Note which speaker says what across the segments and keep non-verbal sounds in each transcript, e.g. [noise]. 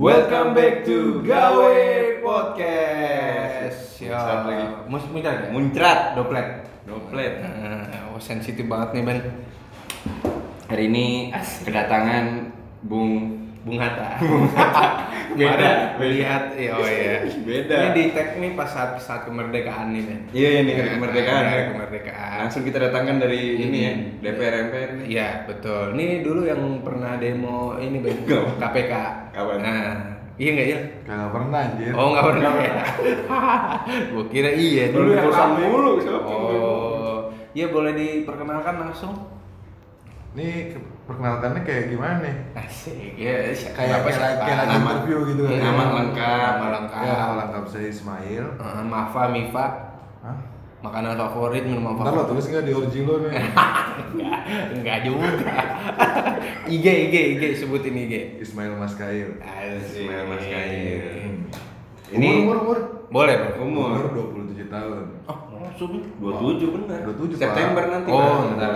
Speaker 1: Welcome back to Gawe Podcast.
Speaker 2: Ya,
Speaker 1: Start lagi.
Speaker 2: mus muncrat ya?
Speaker 1: Muncrat.
Speaker 2: Doplet.
Speaker 1: Doplet.
Speaker 2: Eh, oh, sensitif banget nih Ben.
Speaker 3: Hari ini kedatangan Bung
Speaker 2: [laughs] Bung Hatta.
Speaker 1: [laughs] Beda.
Speaker 2: Lihat, iya oh iya.
Speaker 1: [laughs]
Speaker 2: Ini
Speaker 1: Beda.
Speaker 2: di tag nih pas saat, saat kemerdekaan nih Ben.
Speaker 1: Iya, ini hari kemerdekaan.
Speaker 2: Hari
Speaker 1: ya.
Speaker 2: kemerdekaan.
Speaker 1: Langsung kita datangkan dari ini ya,
Speaker 2: Hmm.
Speaker 1: DPR MPR. nih.
Speaker 2: Iya betul. Ini dulu yang pernah demo ini Ben.
Speaker 1: Gak.
Speaker 2: KPK.
Speaker 1: Kapan?
Speaker 2: Nah, iya nggak ya?
Speaker 4: Kagak pernah anjir.
Speaker 2: Oh nggak pernah. [laughs] Gue kira iya.
Speaker 1: Dulu
Speaker 2: dulu.
Speaker 1: urusan mulu siapa?
Speaker 2: Oh, iya boleh diperkenalkan langsung.
Speaker 4: Ini ke- perkenalkannya kayak gimana nih?
Speaker 2: Asik ya, siapa
Speaker 4: Kayak kayak lagi- kayak lagi
Speaker 2: Nama-
Speaker 4: interview gitu kan.
Speaker 2: Nama
Speaker 1: Nama
Speaker 2: lengkap,
Speaker 1: lengkap.
Speaker 2: nama
Speaker 4: Ya,
Speaker 2: lengkap.
Speaker 4: lengkap saya Ismail.
Speaker 2: Eh, Mafa, Mifa,
Speaker 4: Hah?
Speaker 2: makanan favorit, minuman [laughs]
Speaker 4: Ntar lo
Speaker 2: favorit.
Speaker 4: tulis nggak di orji lo
Speaker 1: [laughs]
Speaker 4: nih?
Speaker 2: Enggak, enggak juga. [laughs] IG, IG, IG, sebutin IG.
Speaker 4: Ismail Mas Kail.
Speaker 2: Asik.
Speaker 1: Ismail Iya, Mas Kail.
Speaker 2: Ini
Speaker 4: umur umur
Speaker 2: boleh, Bro.
Speaker 4: umur
Speaker 1: Umur.
Speaker 4: umur 27 tahun. Eh,
Speaker 2: Oh, langsung.
Speaker 1: 27 benar.
Speaker 4: 27, Pak.
Speaker 1: September nanti.
Speaker 2: Oh,
Speaker 1: Pak.
Speaker 2: bentar.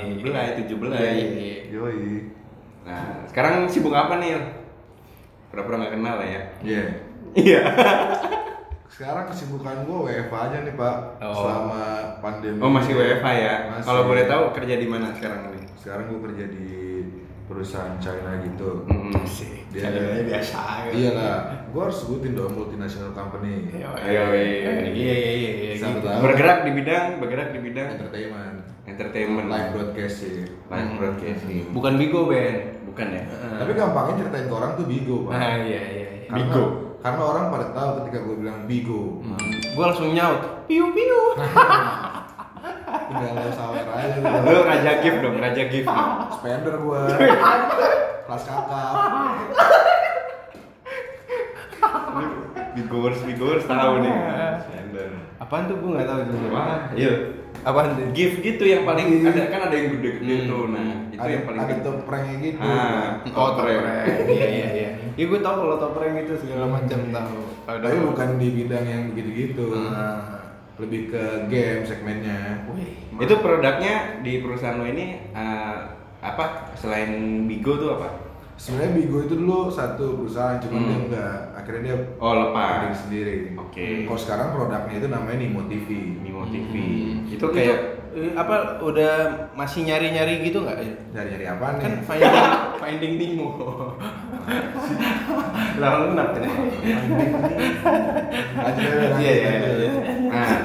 Speaker 4: 28.
Speaker 2: Iya.
Speaker 1: 17, 17.
Speaker 2: Iya, iya.
Speaker 4: Yoi.
Speaker 1: Nah, sekarang sibuk apa nih? Il? Pura-pura nggak kenal lah ya.
Speaker 4: Iya.
Speaker 1: Iya.
Speaker 4: [laughs] Sekarang kesibukan gue WFH aja nih Pak.
Speaker 2: Oh.
Speaker 4: Selama pandemi.
Speaker 1: Oh, masih WFH ya.
Speaker 4: Masih.
Speaker 1: Kalau boleh tahu kerja di mana sekarang ini?
Speaker 4: Sekarang gue kerja di perusahaan China gitu.
Speaker 1: Mm-mm.
Speaker 2: Asik.
Speaker 4: Dia-
Speaker 2: Kalimatnya Hmm, biasa. ya.
Speaker 4: Iya lah. Gue harus sebutin dong multinational company.
Speaker 2: Iya,
Speaker 1: Iya, iya,
Speaker 2: iya, iya, iya, iya.
Speaker 4: Satu
Speaker 2: gitu.
Speaker 4: tahun.
Speaker 1: Bergerak di bidang, bergerak di bidang
Speaker 4: Entertainment.
Speaker 1: entertainment.
Speaker 4: Live broadcasting.
Speaker 1: Live broadcasting.
Speaker 2: Bukan Bigo, Ben.
Speaker 1: Bukan ya?
Speaker 4: Tapi gampangnya ceritain ke orang tuh bigo, Pak.
Speaker 2: Nah, iya, iya, iya.
Speaker 4: Karena-
Speaker 1: bigo.
Speaker 4: Karena orang pada tahu ketika gue bilang bigo.
Speaker 2: Gue langsung nyaut, piu piu.
Speaker 1: Hmm.
Speaker 4: Udah lo sawer aja.
Speaker 1: [laughs] Lu raja gift dong, raja gift.
Speaker 4: Spender
Speaker 1: [laughs]
Speaker 4: gue. Kelas kakap.
Speaker 1: Bigors, bigors tahu nih.
Speaker 2: Apaan tuh gue nggak tahu itu.
Speaker 1: Wah, yuk.
Speaker 2: Apaan tuh? Iya,
Speaker 1: Gift gitu yang paling ada kan ada yang gede-gede
Speaker 2: Hmm.
Speaker 1: tuh. Nah, itu
Speaker 4: ada,
Speaker 1: yang paling
Speaker 4: ada
Speaker 1: gede.
Speaker 4: toprengnya gitu.
Speaker 1: Ah,
Speaker 2: Oh,
Speaker 1: topreng.
Speaker 2: topreng. Iya, iya, iya. Iya, gue tau kalau topreng itu segala macam tahu.
Speaker 4: Nah, Tapi bukan di bidang yang gitu-gitu.
Speaker 1: Hmm.
Speaker 4: Nah,
Speaker 2: Ah.
Speaker 4: Lebih ke game segmennya.
Speaker 2: Wih.
Speaker 1: Itu produknya di perusahaan lo ini eh, apa? Selain Bigo tuh apa?
Speaker 4: Sebenarnya Bigo itu dulu satu perusahaan, cuman
Speaker 1: Hmm.
Speaker 4: dia enggak. Akhirnya dia
Speaker 1: Oh, lepas.
Speaker 4: bikin sendiri.
Speaker 1: Oke.
Speaker 4: Kalau sekarang produknya itu namanya Nimo TV.
Speaker 1: Mimo
Speaker 2: Hmm.
Speaker 1: TV. Itu kayak
Speaker 2: eh, apa udah masih nyari-nyari gitu nggak?
Speaker 4: Nyari-nyari apaan nih?
Speaker 2: Kan finding finding Nemo. Lah lu kenapa? [laughs]
Speaker 4: Lanjut,
Speaker 2: ya?
Speaker 4: lanjut,
Speaker 2: Iya, iya,
Speaker 4: lanjut.
Speaker 2: iya.
Speaker 1: Nah,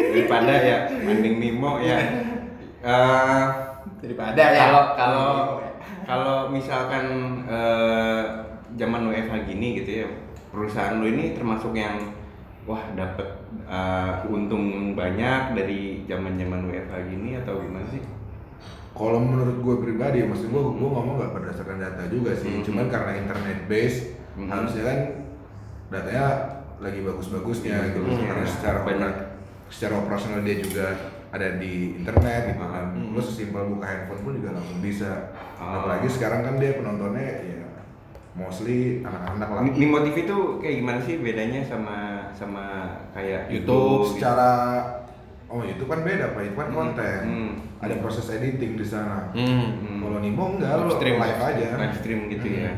Speaker 1: daripada ya mending Nemo ya. Eh,
Speaker 2: Daripada ya.
Speaker 1: kalau kalau kalau misalkan eh, zaman WFH gini gitu ya, perusahaan lu ini termasuk yang wah dapat untung banyak dari zaman-zaman WFH gini atau gimana sih?
Speaker 4: Kalau menurut gue pribadi, maksud gue gue ngomong nggak berdasarkan data juga sih,
Speaker 2: Mm-hmm.
Speaker 1: Mhm.
Speaker 4: cuman karena internet base
Speaker 1: Mhm.
Speaker 4: harusnya kan datanya lagi bagus-bagusnya gitu,
Speaker 2: Mm-hmm.
Speaker 1: Mhm.
Speaker 2: Iya,
Speaker 4: karena secara
Speaker 1: Banyak.
Speaker 4: secara operasional dia juga ada di internet gitu kan,
Speaker 2: Mhm.
Speaker 4: lo sesimpel buka handphone pun juga langsung bisa.
Speaker 1: Ah.
Speaker 4: Apalagi sekarang kan dia penontonnya ya mostly anak-anak lah.
Speaker 1: Ni- Nimo TV itu kayak gimana sih bedanya sama sama kayak
Speaker 4: YouTube
Speaker 1: gitu?
Speaker 4: secara oh YouTube kan beda pak, itu kan
Speaker 1: Mhm.
Speaker 4: konten,
Speaker 1: Mhm.
Speaker 4: ada proses editing di sana.
Speaker 2: Hmm.
Speaker 1: Hmm.
Speaker 4: Kalau Nimo enggak,
Speaker 2: Live
Speaker 4: lo
Speaker 2: stream,
Speaker 4: live aja.
Speaker 1: live stream gitu ya.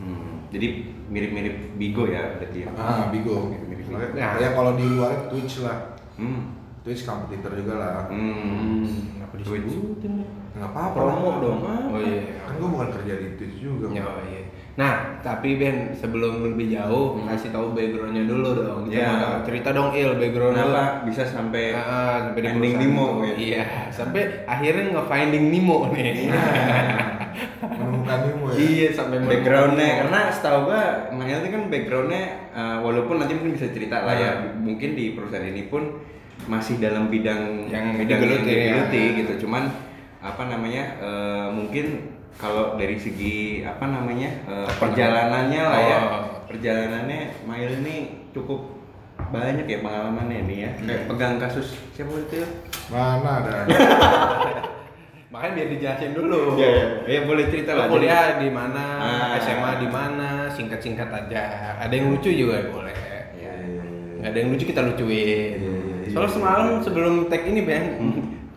Speaker 4: Hmm.
Speaker 1: Hmm, Jadi mirip-mirip Bigo ya berarti ya.
Speaker 4: Ah, Bigo.
Speaker 1: Mirip-mirip Bigo.
Speaker 4: Makanya-
Speaker 2: Nah.
Speaker 4: Ya kalau di luar Twitch lah.
Speaker 1: Hmm.
Speaker 4: Twitch kompetitor juga lah.
Speaker 1: Hmm.
Speaker 2: Kenapa
Speaker 1: Twitch.
Speaker 2: disebutin?
Speaker 4: Enggak apa-apa.
Speaker 1: Promo
Speaker 4: lah.
Speaker 1: dong.
Speaker 2: Oh iya.
Speaker 4: Kan gua bukan kerja di Twitch juga.
Speaker 2: Ya,
Speaker 4: Pak.
Speaker 2: oh, iya. Nah, tapi Ben sebelum lebih jauh kasih tahu backgroundnya dulu dong.
Speaker 1: Iya.
Speaker 2: Coba cerita dong Il background lu.
Speaker 1: Kenapa bisa sampai
Speaker 2: Ah, ah, sampai di
Speaker 1: ending
Speaker 2: perusahaan
Speaker 1: Nemo
Speaker 2: itu.
Speaker 1: ya?
Speaker 2: Iya, sampai akhirnya nge-finding Nemo nih.
Speaker 1: Iya.
Speaker 4: Menemukan Nemo ya.
Speaker 2: iya, sampai menemukan
Speaker 1: backgroundnya
Speaker 2: Nemo.
Speaker 1: karena setahu gua Mail itu kan backgroundnya eh, walaupun nanti mungkin bisa cerita
Speaker 2: Ah.
Speaker 1: lah ya mungkin di perusahaan ini pun masih dalam bidang
Speaker 2: Yang
Speaker 1: bidang
Speaker 2: digeluti ya.
Speaker 1: digeluti gitu cuman apa namanya eh, mungkin kalau dari segi apa namanya eh, perjalanannya lah ya
Speaker 2: Oh.
Speaker 1: perjalanannya Mail ini cukup banyak ya pengalamannya nih ya kayak pegang kasus siapa itu ya?
Speaker 4: Mana ada?
Speaker 2: [laughs]
Speaker 4: Iya,
Speaker 2: Makanya biar dijelasin dulu.
Speaker 1: ya, ya.
Speaker 2: Iya,
Speaker 1: ya boleh cerita
Speaker 2: Lo
Speaker 1: lah Jadi-
Speaker 2: kuliah di mana,
Speaker 1: Ah.
Speaker 2: SMA di mana, singkat-singkat aja. Ada yang lucu juga boleh.
Speaker 1: Ya.
Speaker 2: Nggak ada yang lucu kita lucuin.
Speaker 4: Iya, iya, iya.
Speaker 2: Soalnya semalam sebelum tag ini Ben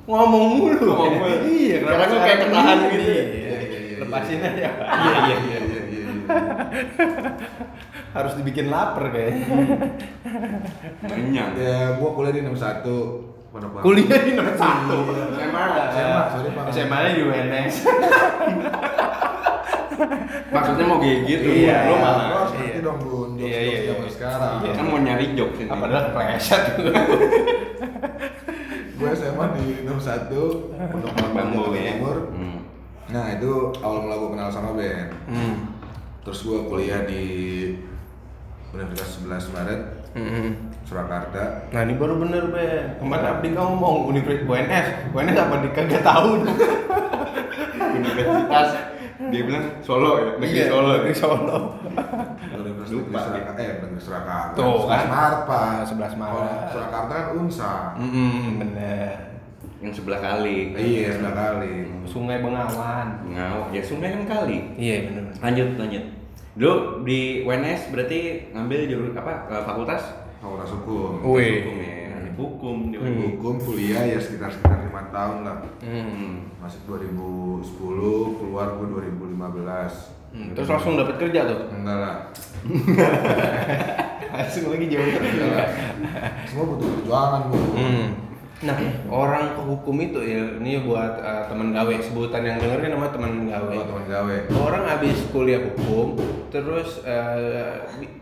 Speaker 2: ngomong mulu.
Speaker 1: Ngomong mulu.
Speaker 2: [laughs] Iya, kenapa
Speaker 1: Karena gua kayak
Speaker 2: sekarang
Speaker 1: ketahan
Speaker 2: ini?
Speaker 1: gitu.
Speaker 2: Iya,
Speaker 4: iya, iya.
Speaker 2: Lepasin aja. Iya, iya,
Speaker 4: Iya, iya, iya.
Speaker 2: [laughs] Harus dibikin lapar kayaknya. Iya.
Speaker 1: Banyak.
Speaker 4: Ya, gua kuliah di 61 Pondok Bambu.
Speaker 2: Kuliah di nomor satu.
Speaker 1: SMA.
Speaker 4: SMA, sorry, Pak.
Speaker 2: SMA nya di UNS.
Speaker 1: Maksudnya mau kayak gitu.
Speaker 2: Iya.
Speaker 1: Lu
Speaker 4: Lu
Speaker 1: malah.
Speaker 4: harus ngerti dong, Bun. Jokes
Speaker 2: Iya, iya,
Speaker 4: zaman
Speaker 2: iya.
Speaker 4: sekarang.
Speaker 2: Iya.
Speaker 1: Kan mau nyari joke sini.
Speaker 2: Apa adalah kepleset
Speaker 4: Gue SMA di 61 Pondok Bambu,
Speaker 1: Bambu
Speaker 4: Jakarta
Speaker 1: ya.
Speaker 4: Timur.
Speaker 1: Hmm.
Speaker 4: Nah, itu awal mula gua kenal sama Ben. Terus gua kuliah di Universitas 11 Maret,
Speaker 1: hmm,
Speaker 4: Surakarta.
Speaker 2: Nah ini baru bener be. Kemarin Abdi ngomong Universitas UNS, UNS apa di kagak tahu tuh.
Speaker 1: Universitas dia bilang Solo ya,
Speaker 2: Iya.
Speaker 1: negeri Solo.
Speaker 2: di Solo.
Speaker 4: Universitas
Speaker 1: Lupa,
Speaker 4: Negeri Surakarta, eh negeri Surakarta.
Speaker 2: Tuh,
Speaker 4: 11
Speaker 2: kan?
Speaker 4: Maret, Pak.
Speaker 2: 11 Maret.
Speaker 4: Kalau Surakarta kan Unsa.
Speaker 2: Mm bener.
Speaker 1: Yang sebelah kali.
Speaker 4: Iya, sudah kali.
Speaker 2: Sungai Bengawan.
Speaker 1: Ngawak ya sungai kan kali.
Speaker 2: Iya bener.
Speaker 1: Lanjut, lanjut. Dulu di UNS berarti ngambil jurusan apa? eh, Fakultas
Speaker 4: Fakultas Hukum.
Speaker 2: Wih.
Speaker 1: Hukum ya. Hukum di
Speaker 4: Fakultas
Speaker 1: UNS.
Speaker 4: Hukum kuliah ya sekitar sekitar lima tahun lah.
Speaker 1: Hmm.
Speaker 4: Masuk 2010, keluar gue 2015.
Speaker 2: Hmm, terus langsung dapat kerja tuh.
Speaker 4: Enggak lah.
Speaker 2: Langsung Ah, lagi jauh.
Speaker 4: Enggak lah. Semua butuh perjuangan bu.
Speaker 2: Nah, orang ke hukum itu ya, ini buat eh, teman gawe sebutan yang dengerin nama teman gawe.
Speaker 4: Buat teman gawe.
Speaker 2: Orang habis kuliah hukum, terus eh,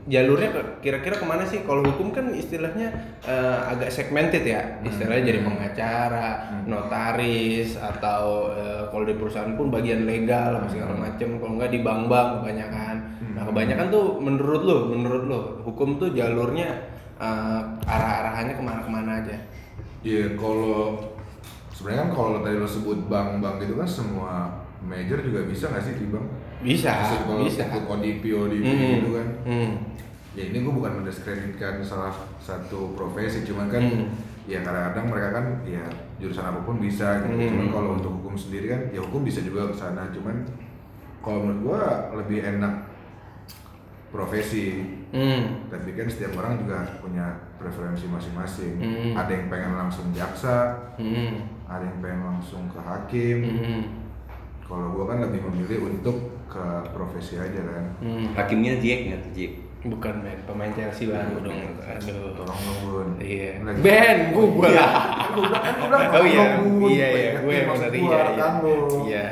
Speaker 2: jalurnya ke- kira-kira kemana sih? Kalau hukum kan istilahnya eh, agak segmented ya, istilahnya jadi pengacara, notaris, atau eh, kalau di perusahaan pun bagian legal apa segala macem. Kalau nggak di bank-bank kebanyakan. Nah kebanyakan tuh menurut lo, menurut lo hukum tuh jalurnya eh, arah-arahannya kemana-kemana aja?
Speaker 4: Iya kalau sebenarnya kan kalau tadi lo sebut bank-bank gitu kan semua major juga bisa nggak sih di bank?
Speaker 2: Bisa,
Speaker 4: kalau
Speaker 2: bisa.
Speaker 4: ikut ODP, ODP
Speaker 2: Hmm.
Speaker 4: gitu kan.
Speaker 2: Hmm.
Speaker 4: ya ini gue bukan mendiskreditkan salah satu profesi cuman kan
Speaker 2: Hmm.
Speaker 4: ya kadang-kadang mereka kan ya jurusan apapun bisa gitu
Speaker 2: Hmm.
Speaker 4: cuman kalau untuk hukum sendiri kan ya hukum bisa juga ke sana cuman kalau menurut gue lebih enak profesi
Speaker 2: Hmm.
Speaker 4: tapi kan setiap orang juga punya preferensi masing-masing
Speaker 2: Hmm.
Speaker 4: ada yang pengen langsung jaksa
Speaker 2: Hmm.
Speaker 4: ada yang pengen langsung ke hakim
Speaker 2: Hmm.
Speaker 4: kalau gue kan lebih memilih untuk ke profesi aja kan
Speaker 2: Hmm.
Speaker 1: Hakimnya Jack nggak tuh Jack?
Speaker 2: Bukan Ben, pemain Chelsea baru dong. Aduh.
Speaker 4: tolong dong Bun.
Speaker 2: Iya.
Speaker 4: Lagi-
Speaker 2: Ben, gue gue lah. Oh iya,
Speaker 4: ya. Gue
Speaker 2: iya iya, gue emang dari iya iya. Iya.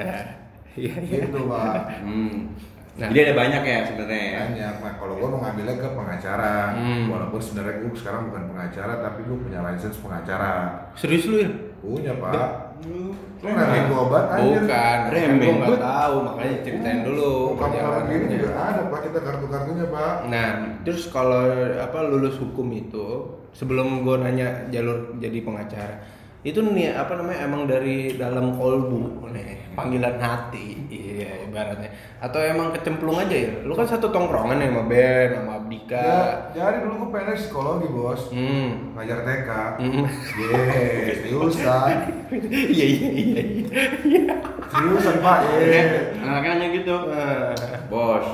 Speaker 2: Iya.
Speaker 4: Gitu [laughs] pak.
Speaker 1: Hmm.
Speaker 2: Nah.
Speaker 1: Jadi ada banyak ya sebenarnya ya.
Speaker 4: Banyak. Nah, kalau gue mau ngambilnya ke pengacara,
Speaker 2: Hmm.
Speaker 4: walaupun sebenarnya gue sekarang bukan pengacara, tapi gue punya license pengacara.
Speaker 2: Serius lu ya?
Speaker 4: Punya pak. Lu
Speaker 1: Keren.
Speaker 4: nanya gue obat anjir.
Speaker 2: Bukan,
Speaker 1: Remeh.
Speaker 2: gue nggak tahu, makanya ceritain dulu.
Speaker 4: Kamu kamu gini
Speaker 2: perjalanannya.
Speaker 4: juga ada pak, kita kartu-kartunya pak.
Speaker 2: Nah, terus kalau apa lulus hukum itu sebelum gue nanya jalur jadi pengacara itu nih apa namanya emang dari dalam kolbu nih panggilan hati iya ibaratnya atau emang kecemplung aja ya lu kan satu tongkrongan ya sama Ben sama Abdika
Speaker 4: Ya, jadi dulu gue PNS psikologi bos,
Speaker 2: hmm
Speaker 4: ngajar TK.
Speaker 2: Hmm.
Speaker 4: Yeay, seriusan,
Speaker 2: [laughs] iya iya iya iya
Speaker 4: seriusan pak.
Speaker 1: Iya,
Speaker 2: [laughs]
Speaker 4: Yeay.
Speaker 1: Anaknya nanya gitu.
Speaker 2: Ah,
Speaker 1: Bos,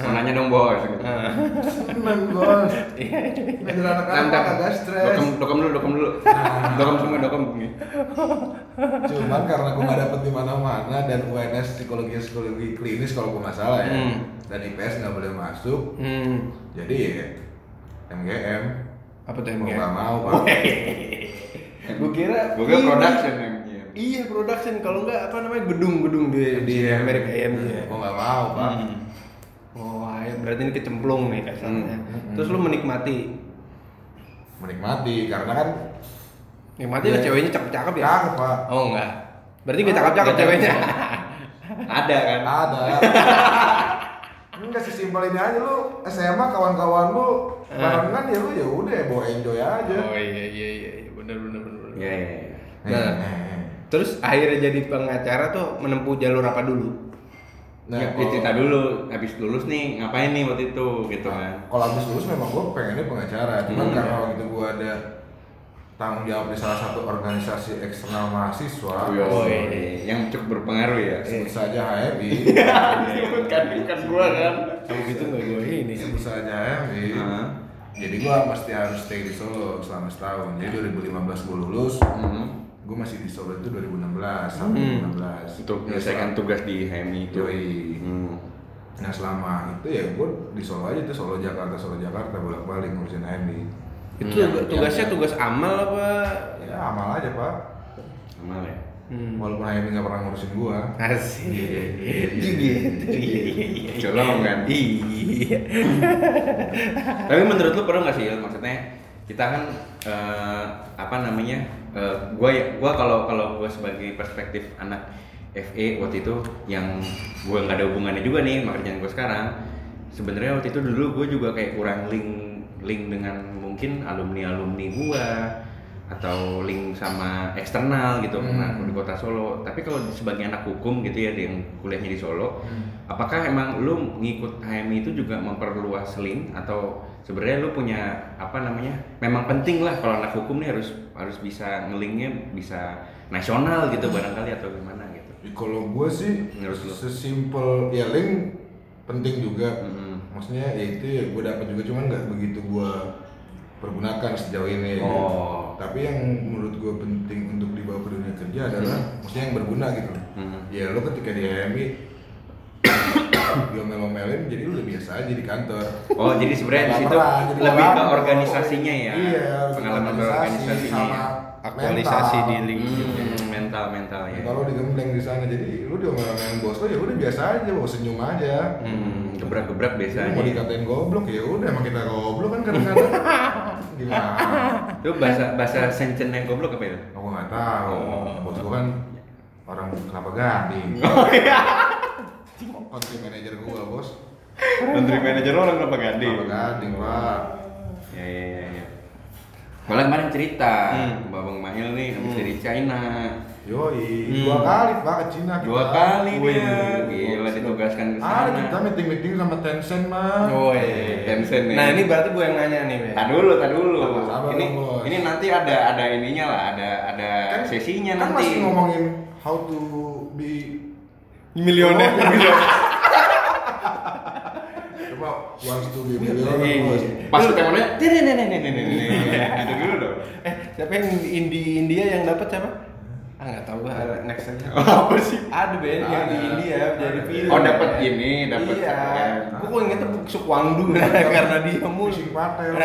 Speaker 1: mau nanya dong bos. gitu.
Speaker 2: ah.
Speaker 4: Seneng bos.
Speaker 2: Iya.
Speaker 4: Ngajar anak-anak
Speaker 1: Tentang.
Speaker 4: agak stres.
Speaker 1: Dokem, dokem dulu, dokem dulu. dokem semua, dokem.
Speaker 4: Cuman karena gue gak dapet di mana-mana dan UNS psikologi psikologi klinis kalau gue nggak salah ya
Speaker 2: Hmm.
Speaker 4: dan IPS nggak boleh masuk,
Speaker 2: hmm
Speaker 4: jadi ya MGM
Speaker 2: apa tuh
Speaker 4: mau
Speaker 2: emang ya
Speaker 4: nggak mau pak.
Speaker 2: gue kira
Speaker 1: Gue kira
Speaker 2: ini-
Speaker 1: production yang iya.
Speaker 2: Iya production kalau nggak apa namanya gedung-gedung di di
Speaker 1: Iya.
Speaker 4: MGM.
Speaker 2: Amerika ya, iya. IMG.
Speaker 4: Mau nggak mau pak.
Speaker 2: Hmm. Oh, ayo, berarti ini kecemplung nih kasarnya.
Speaker 4: Hmm.
Speaker 2: Terus lu menikmati.
Speaker 4: Menikmati karena kan
Speaker 2: Menikmati
Speaker 4: Iya.
Speaker 2: lu ceweknya cakep-cakep ya?
Speaker 4: cakep pak.
Speaker 2: Oh enggak. Berarti gak
Speaker 4: Ah,
Speaker 2: cakep-cakep
Speaker 4: nggak
Speaker 2: ceweknya.
Speaker 1: Ada kan?
Speaker 4: Ada.
Speaker 2: [laughs]
Speaker 4: Enggak sesimpel ini aja lu SMA kawan-kawan lu
Speaker 2: Eh.
Speaker 4: barengan ya lu ya udah bawa enjoy aja.
Speaker 2: oh iya iya iya iya. bener bener bener. bener.
Speaker 1: Iya, iya, iya.
Speaker 2: Nah.
Speaker 4: Eh.
Speaker 2: Terus akhirnya jadi pengacara tuh menempuh jalur apa dulu?
Speaker 4: Nah,
Speaker 1: Ya,
Speaker 4: kalau-
Speaker 1: cerita dulu, habis lulus nih, ngapain nih waktu itu gitu kan?
Speaker 4: kalau habis lulus memang gue pengennya pengacara cuman
Speaker 1: Hmm.
Speaker 4: karena waktu itu gue ada tanggung jawab di salah satu organisasi eksternal mahasiswa
Speaker 1: Woi, yang cukup berpengaruh ya.
Speaker 4: sebut saja
Speaker 1: [laughs]
Speaker 4: HMI
Speaker 1: Bukan, bukan gua kan.
Speaker 2: Kamu gitu nggak gue ini.
Speaker 4: sebut saja HMI
Speaker 1: Heeh.
Speaker 4: jadi gue mesti harus stay di Solo selama setahun
Speaker 1: Ya.
Speaker 4: jadi 2015 gue lulus
Speaker 1: Mhm.
Speaker 4: gue masih di Solo itu 2016 sampai
Speaker 2: Hmm.
Speaker 4: 2016
Speaker 1: Untuk menyelesaikan tugas di HMI itu.
Speaker 4: Ya, Yoi.
Speaker 1: Hmm.
Speaker 4: Nah selama itu ya gue di Solo aja tuh Solo Jakarta Solo Jakarta bolak balik ngurusin Andy.
Speaker 2: Itu tugasnya tugas amal apa?
Speaker 4: Ya amal aja pak.
Speaker 1: Amal ya.
Speaker 2: Hmm.
Speaker 4: Walaupun Andy nggak pernah ngurusin gua.
Speaker 2: Asik. Gitu. Iya, iya, iya.
Speaker 1: Colong kan.
Speaker 2: Iya.
Speaker 1: [laughs] Tapi menurut lu perlu nggak sih Il? maksudnya kita kan eh, apa namanya? eh, gua ya gua kalau kalau gua sebagai perspektif anak FE waktu itu yang gua nggak ada hubungannya juga nih sama kerjaan gua sekarang. Sebenarnya waktu itu dulu gua juga kayak kurang link link dengan mungkin alumni-alumni gua atau link sama eksternal gitu
Speaker 2: Hmm.
Speaker 1: karena aku di kota Solo. Tapi kalau sebagai anak hukum gitu ya yang kuliahnya di Solo,
Speaker 4: Hmm.
Speaker 1: apakah emang lu ngikut HMI itu juga memperluas link atau sebenarnya lu punya apa namanya? Memang penting lah kalau anak hukum nih harus harus bisa ngelinknya bisa nasional gitu
Speaker 4: Hmm.
Speaker 1: barangkali atau gimana gitu.
Speaker 4: Kalau gue sih
Speaker 1: Menurut lu?
Speaker 4: sesimpel ya link penting juga.
Speaker 1: Mm-mm.
Speaker 4: Maksudnya ya itu ya gue dapat juga cuman nggak begitu gue pergunakan sejauh ini. gitu.
Speaker 1: Oh.
Speaker 4: Tapi yang menurut gue penting untuk dibawa ke dunia kerja adalah maksudnya yang berguna gitu.
Speaker 1: Hmm.
Speaker 4: Ya lo ketika di HMI diomel-omelin jadi lu udah biasa aja di kantor.
Speaker 1: Oh, jadi sebenarnya di
Speaker 4: Nggak
Speaker 1: situ
Speaker 4: pernah, jadi
Speaker 1: lebih
Speaker 4: nggak
Speaker 1: ke
Speaker 4: lama.
Speaker 1: organisasinya ya.
Speaker 4: Iya,
Speaker 1: pengalaman
Speaker 4: organisasi
Speaker 1: berorganisasinya.
Speaker 4: sama
Speaker 1: ya.
Speaker 2: Aktualisasi
Speaker 4: mental.
Speaker 2: di link.
Speaker 1: Hmm, mental mental ya.
Speaker 4: Iya. Kalau digembleng di sana jadi lu diomelin bos lo ya udah biasa aja, mau senyum aja.
Speaker 1: Hmm, gebrak-gebrak biasa
Speaker 4: Lu
Speaker 1: aja.
Speaker 4: mau dikatain goblok ya udah emang kita goblok kan
Speaker 1: [laughs]
Speaker 4: kadang-kadang gimana
Speaker 1: Itu bahasa bahasa Senchen yang goblok apa ya? itu?
Speaker 4: aku nggak tahu
Speaker 1: Oh.
Speaker 4: bos gua kan orang kenapa ganti
Speaker 1: [laughs] iya.
Speaker 4: country manager gua bos
Speaker 1: Menteri manajer orang apa gandhi?
Speaker 4: kenapa ganti pak
Speaker 1: Ya ya ya. ya. Malah kemarin cerita,
Speaker 2: Hmm.
Speaker 1: Babang Mahil nih habis dari China.
Speaker 4: yoi
Speaker 2: Hmm.
Speaker 4: dua kali pak ke Cina
Speaker 1: Dua
Speaker 4: kita.
Speaker 1: kali
Speaker 4: Wih,
Speaker 1: dia. Gila ditugaskan ke
Speaker 4: ada
Speaker 1: sana. Oh, iya.
Speaker 4: kita meeting meeting sama Tencent mah
Speaker 2: Woi.
Speaker 1: Tencent nih.
Speaker 2: Nah, ini berarti gue yang nanya nih, Ben.
Speaker 1: Tahan dulu, tahan dulu.
Speaker 4: Sabar, sabar
Speaker 1: ini
Speaker 4: dong, Bos.
Speaker 1: ini nanti ada ada ininya lah, ada ada sesinya
Speaker 4: kan
Speaker 1: nanti.
Speaker 4: masih ngomongin how to be
Speaker 2: Oh, Milioner.
Speaker 4: coba once to be
Speaker 1: Iya,
Speaker 4: millionaire bos
Speaker 1: Pas temennya, nih nih nih nih nih nih nih. Ada dulu dong.
Speaker 2: eh, siapa yang di India yang dapat siapa? Ah, nggak tahu gua next aja.
Speaker 1: Apa sih?
Speaker 2: Ada Ben yang di
Speaker 4: Ada.
Speaker 2: India jadi film.
Speaker 1: Oh, dapat ini, dapat
Speaker 2: Iya.
Speaker 1: KPR.
Speaker 2: Gua kok ingetnya Buk Sukwangdu [laughs] karena dia mulu.
Speaker 4: pusing partai
Speaker 1: Iya